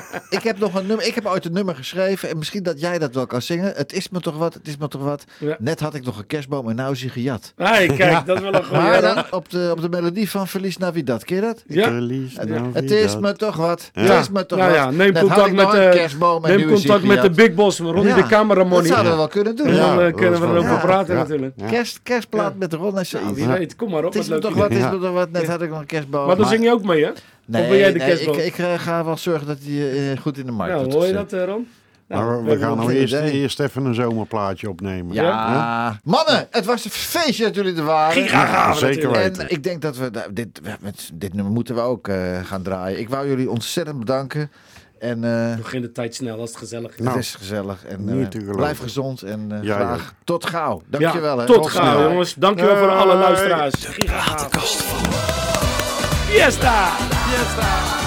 [SPEAKER 2] Ik heb nog een nummer. Ik heb ooit een nummer geschreven. En misschien dat jij dat wel kan zingen. Het is me toch wat, het is me toch wat.
[SPEAKER 4] Ja.
[SPEAKER 2] Net had ik nog een kerstboom en nou is hij gejat.
[SPEAKER 4] Hey, kijk, dat is wel een goeie.
[SPEAKER 2] Maar
[SPEAKER 4] hè, Ron?
[SPEAKER 2] dan op de, op de melodie van Verlies Navidad. Ken je dat?
[SPEAKER 4] Ja.
[SPEAKER 3] Verlies nou
[SPEAKER 2] Het
[SPEAKER 3] wie
[SPEAKER 2] is
[SPEAKER 3] dat.
[SPEAKER 2] me toch wat. Het
[SPEAKER 4] Ja.
[SPEAKER 2] is me toch
[SPEAKER 4] Nou
[SPEAKER 2] wat.
[SPEAKER 4] ja, neem
[SPEAKER 2] Net had
[SPEAKER 4] contact
[SPEAKER 2] ik nog
[SPEAKER 4] met,
[SPEAKER 2] een
[SPEAKER 4] eh,
[SPEAKER 2] kerstboom en
[SPEAKER 4] Neem
[SPEAKER 2] nu is hij
[SPEAKER 4] contact met de
[SPEAKER 2] gejat.
[SPEAKER 4] big boss, Ronnie
[SPEAKER 2] Ja.
[SPEAKER 4] de camera,
[SPEAKER 2] Dat
[SPEAKER 4] Money.
[SPEAKER 2] zouden we
[SPEAKER 4] En
[SPEAKER 2] wel kunnen doen.
[SPEAKER 4] dan
[SPEAKER 3] Ja.
[SPEAKER 4] eh,
[SPEAKER 3] dat
[SPEAKER 4] kunnen we
[SPEAKER 3] is wel-
[SPEAKER 4] erover
[SPEAKER 2] ja.
[SPEAKER 4] praten
[SPEAKER 3] Ja.
[SPEAKER 4] natuurlijk.
[SPEAKER 3] Ja.
[SPEAKER 2] Kerst, kerstplaat met Ron en Said.
[SPEAKER 4] Nou, wie weet, kom maar op.
[SPEAKER 2] Het
[SPEAKER 4] Wat
[SPEAKER 2] is me
[SPEAKER 4] leuk.
[SPEAKER 2] toch wat, het is
[SPEAKER 3] Ja.
[SPEAKER 2] me toch wat. Net had ik nog een kerstboom.
[SPEAKER 4] Maar dan zing je ook mee, hè?
[SPEAKER 2] Nee,
[SPEAKER 4] of ben jij de
[SPEAKER 2] nee,
[SPEAKER 4] kerstboom?
[SPEAKER 2] ik, ik eh, ga wel zorgen dat hij eh, goed in de markt
[SPEAKER 4] Nou,
[SPEAKER 2] wordt
[SPEAKER 4] hoor je
[SPEAKER 2] gezet.
[SPEAKER 4] dat, eh, Ron? Nou,
[SPEAKER 3] Maar we- we,
[SPEAKER 4] hebben
[SPEAKER 3] gaan
[SPEAKER 4] nog-
[SPEAKER 3] nou
[SPEAKER 2] geen
[SPEAKER 3] eerst,
[SPEAKER 2] idee.
[SPEAKER 3] eerst even een zomerplaatje opnemen.
[SPEAKER 2] Ja. Mannen, het was een feestje dat jullie er waren.
[SPEAKER 3] Ja, zeker
[SPEAKER 4] natuurlijk.
[SPEAKER 3] weten.
[SPEAKER 2] En ik nou, denk dat we da- dit, we- met dit nummer moeten we ook eh, gaan draaien. Ik wou jullie ontzettend bedanken. En, eh,
[SPEAKER 4] Begin de tijd snel als het gezellig is.
[SPEAKER 2] het is gezellig. En, eh,
[SPEAKER 3] Nou, niet te geloven.
[SPEAKER 2] blijf gezond en eh,
[SPEAKER 3] Ja, ja.
[SPEAKER 2] graag tot gauw. Dankjewel.
[SPEAKER 4] Ja,
[SPEAKER 2] hè.
[SPEAKER 4] tot gauw,
[SPEAKER 2] snel.
[SPEAKER 4] jongens. Dankjewel voor alle luisteraars. Piratenkast van Fiesta! Fiesta!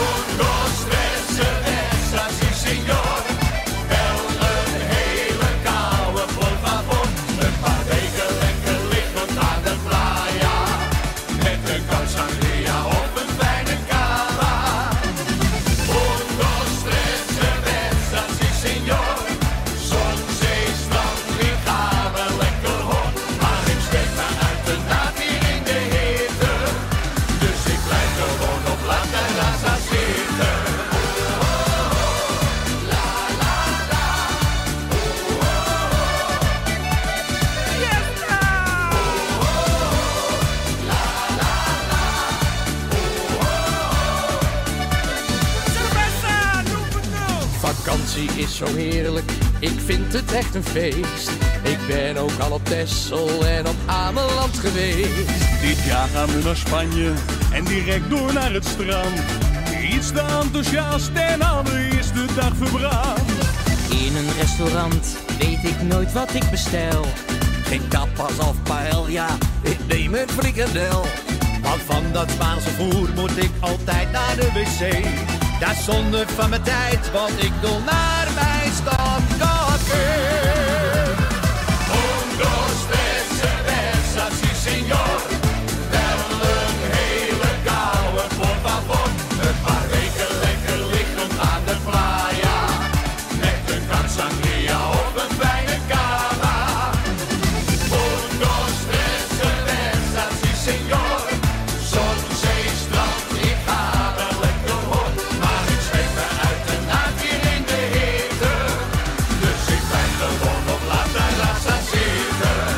[SPEAKER 6] Un, dos, tres, cerveza, sí señor. Wel een hele koude, por favor. Een paar weken lekker liggen aan de playa. Met een kan sangria op een fijne cava. Un, dos, tres, cerveza, sí señor. Zon, zee, strand, hier gaan we lekker hot. Maar ik spreek me uit de naad hier in de hitte. Dus ik blijf gewoon op La Terraza zitten.
[SPEAKER 7] Vakantie is zo heerlijk, ik vind het echt een feest. Ik ben ook al op Texel en op Ameland geweest.
[SPEAKER 13] Dit jaar gaan we naar Spanje en direct door naar het strand. Iets te enthousiast en aan de eerste dag verbrand.
[SPEAKER 7] In een restaurant weet ik nooit wat ik bestel. Geen tapas of paella, ik neem een frikandel.
[SPEAKER 13] Want van dat Spaanse voer moet ik altijd naar de wc. Daar zonde van mijn tijd, want ik doe naar mijn standkakker.
[SPEAKER 6] Un, dos, tres, cerveza, sí señor. Wel een hele koude, por favor. Een paar weken lekker liggen aan de playa. Met een kan sangria op een fijne cava. Un, dos, tres, cerveza, sí señor. Zon, zee, strand, ik ga wel lekker hoor. Maar ik zweet me uit de naad hier in de hitte. Dus ik blijf gewoon op La Terraza zitten.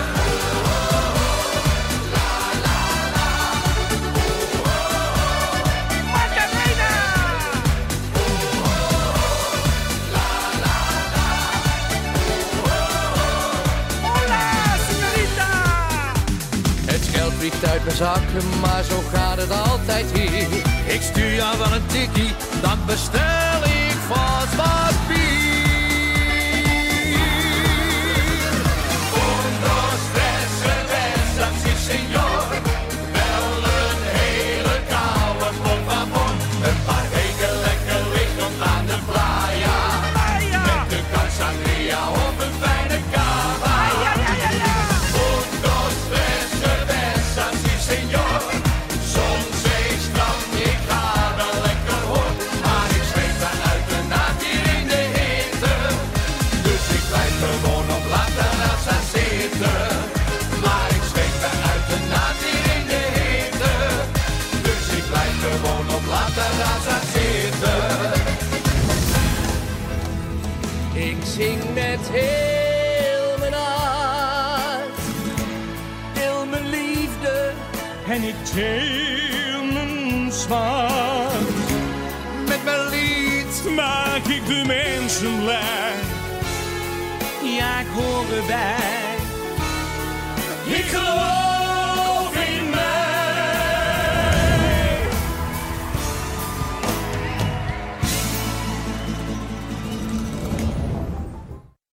[SPEAKER 7] Het geld vliegt uit mijn zakken, maar zo gaat het altijd hier. Ik stuur jou wel een tikkie, dan bestel ik vast wat
[SPEAKER 6] Un, dos, tres, cerveza, sí señor. Wel een hele koude, por favor. Een paar weken lekker liggen aan de playa. Met de kan sangria op een fijne cava. Un, dos, tres, cerveza, sí señor. Zon, zee, strand, ik ga wel lekker hoor. Maar ik zweet dan uit de naad hier in de hitte. Dus ik blijf gewoon op La Terraza zitten. Maar ik zweet me uit de naad hier in de hitte. Dus ik blijf gewoon op La Terraza zitten.
[SPEAKER 7] Ik zing met heel mijn hart, heel mijn liefde.
[SPEAKER 13] En ik deel mijn zwaard. Met mijn lied maak ik de mensen blij. Ja, ik hoor erbij. Ik geloof.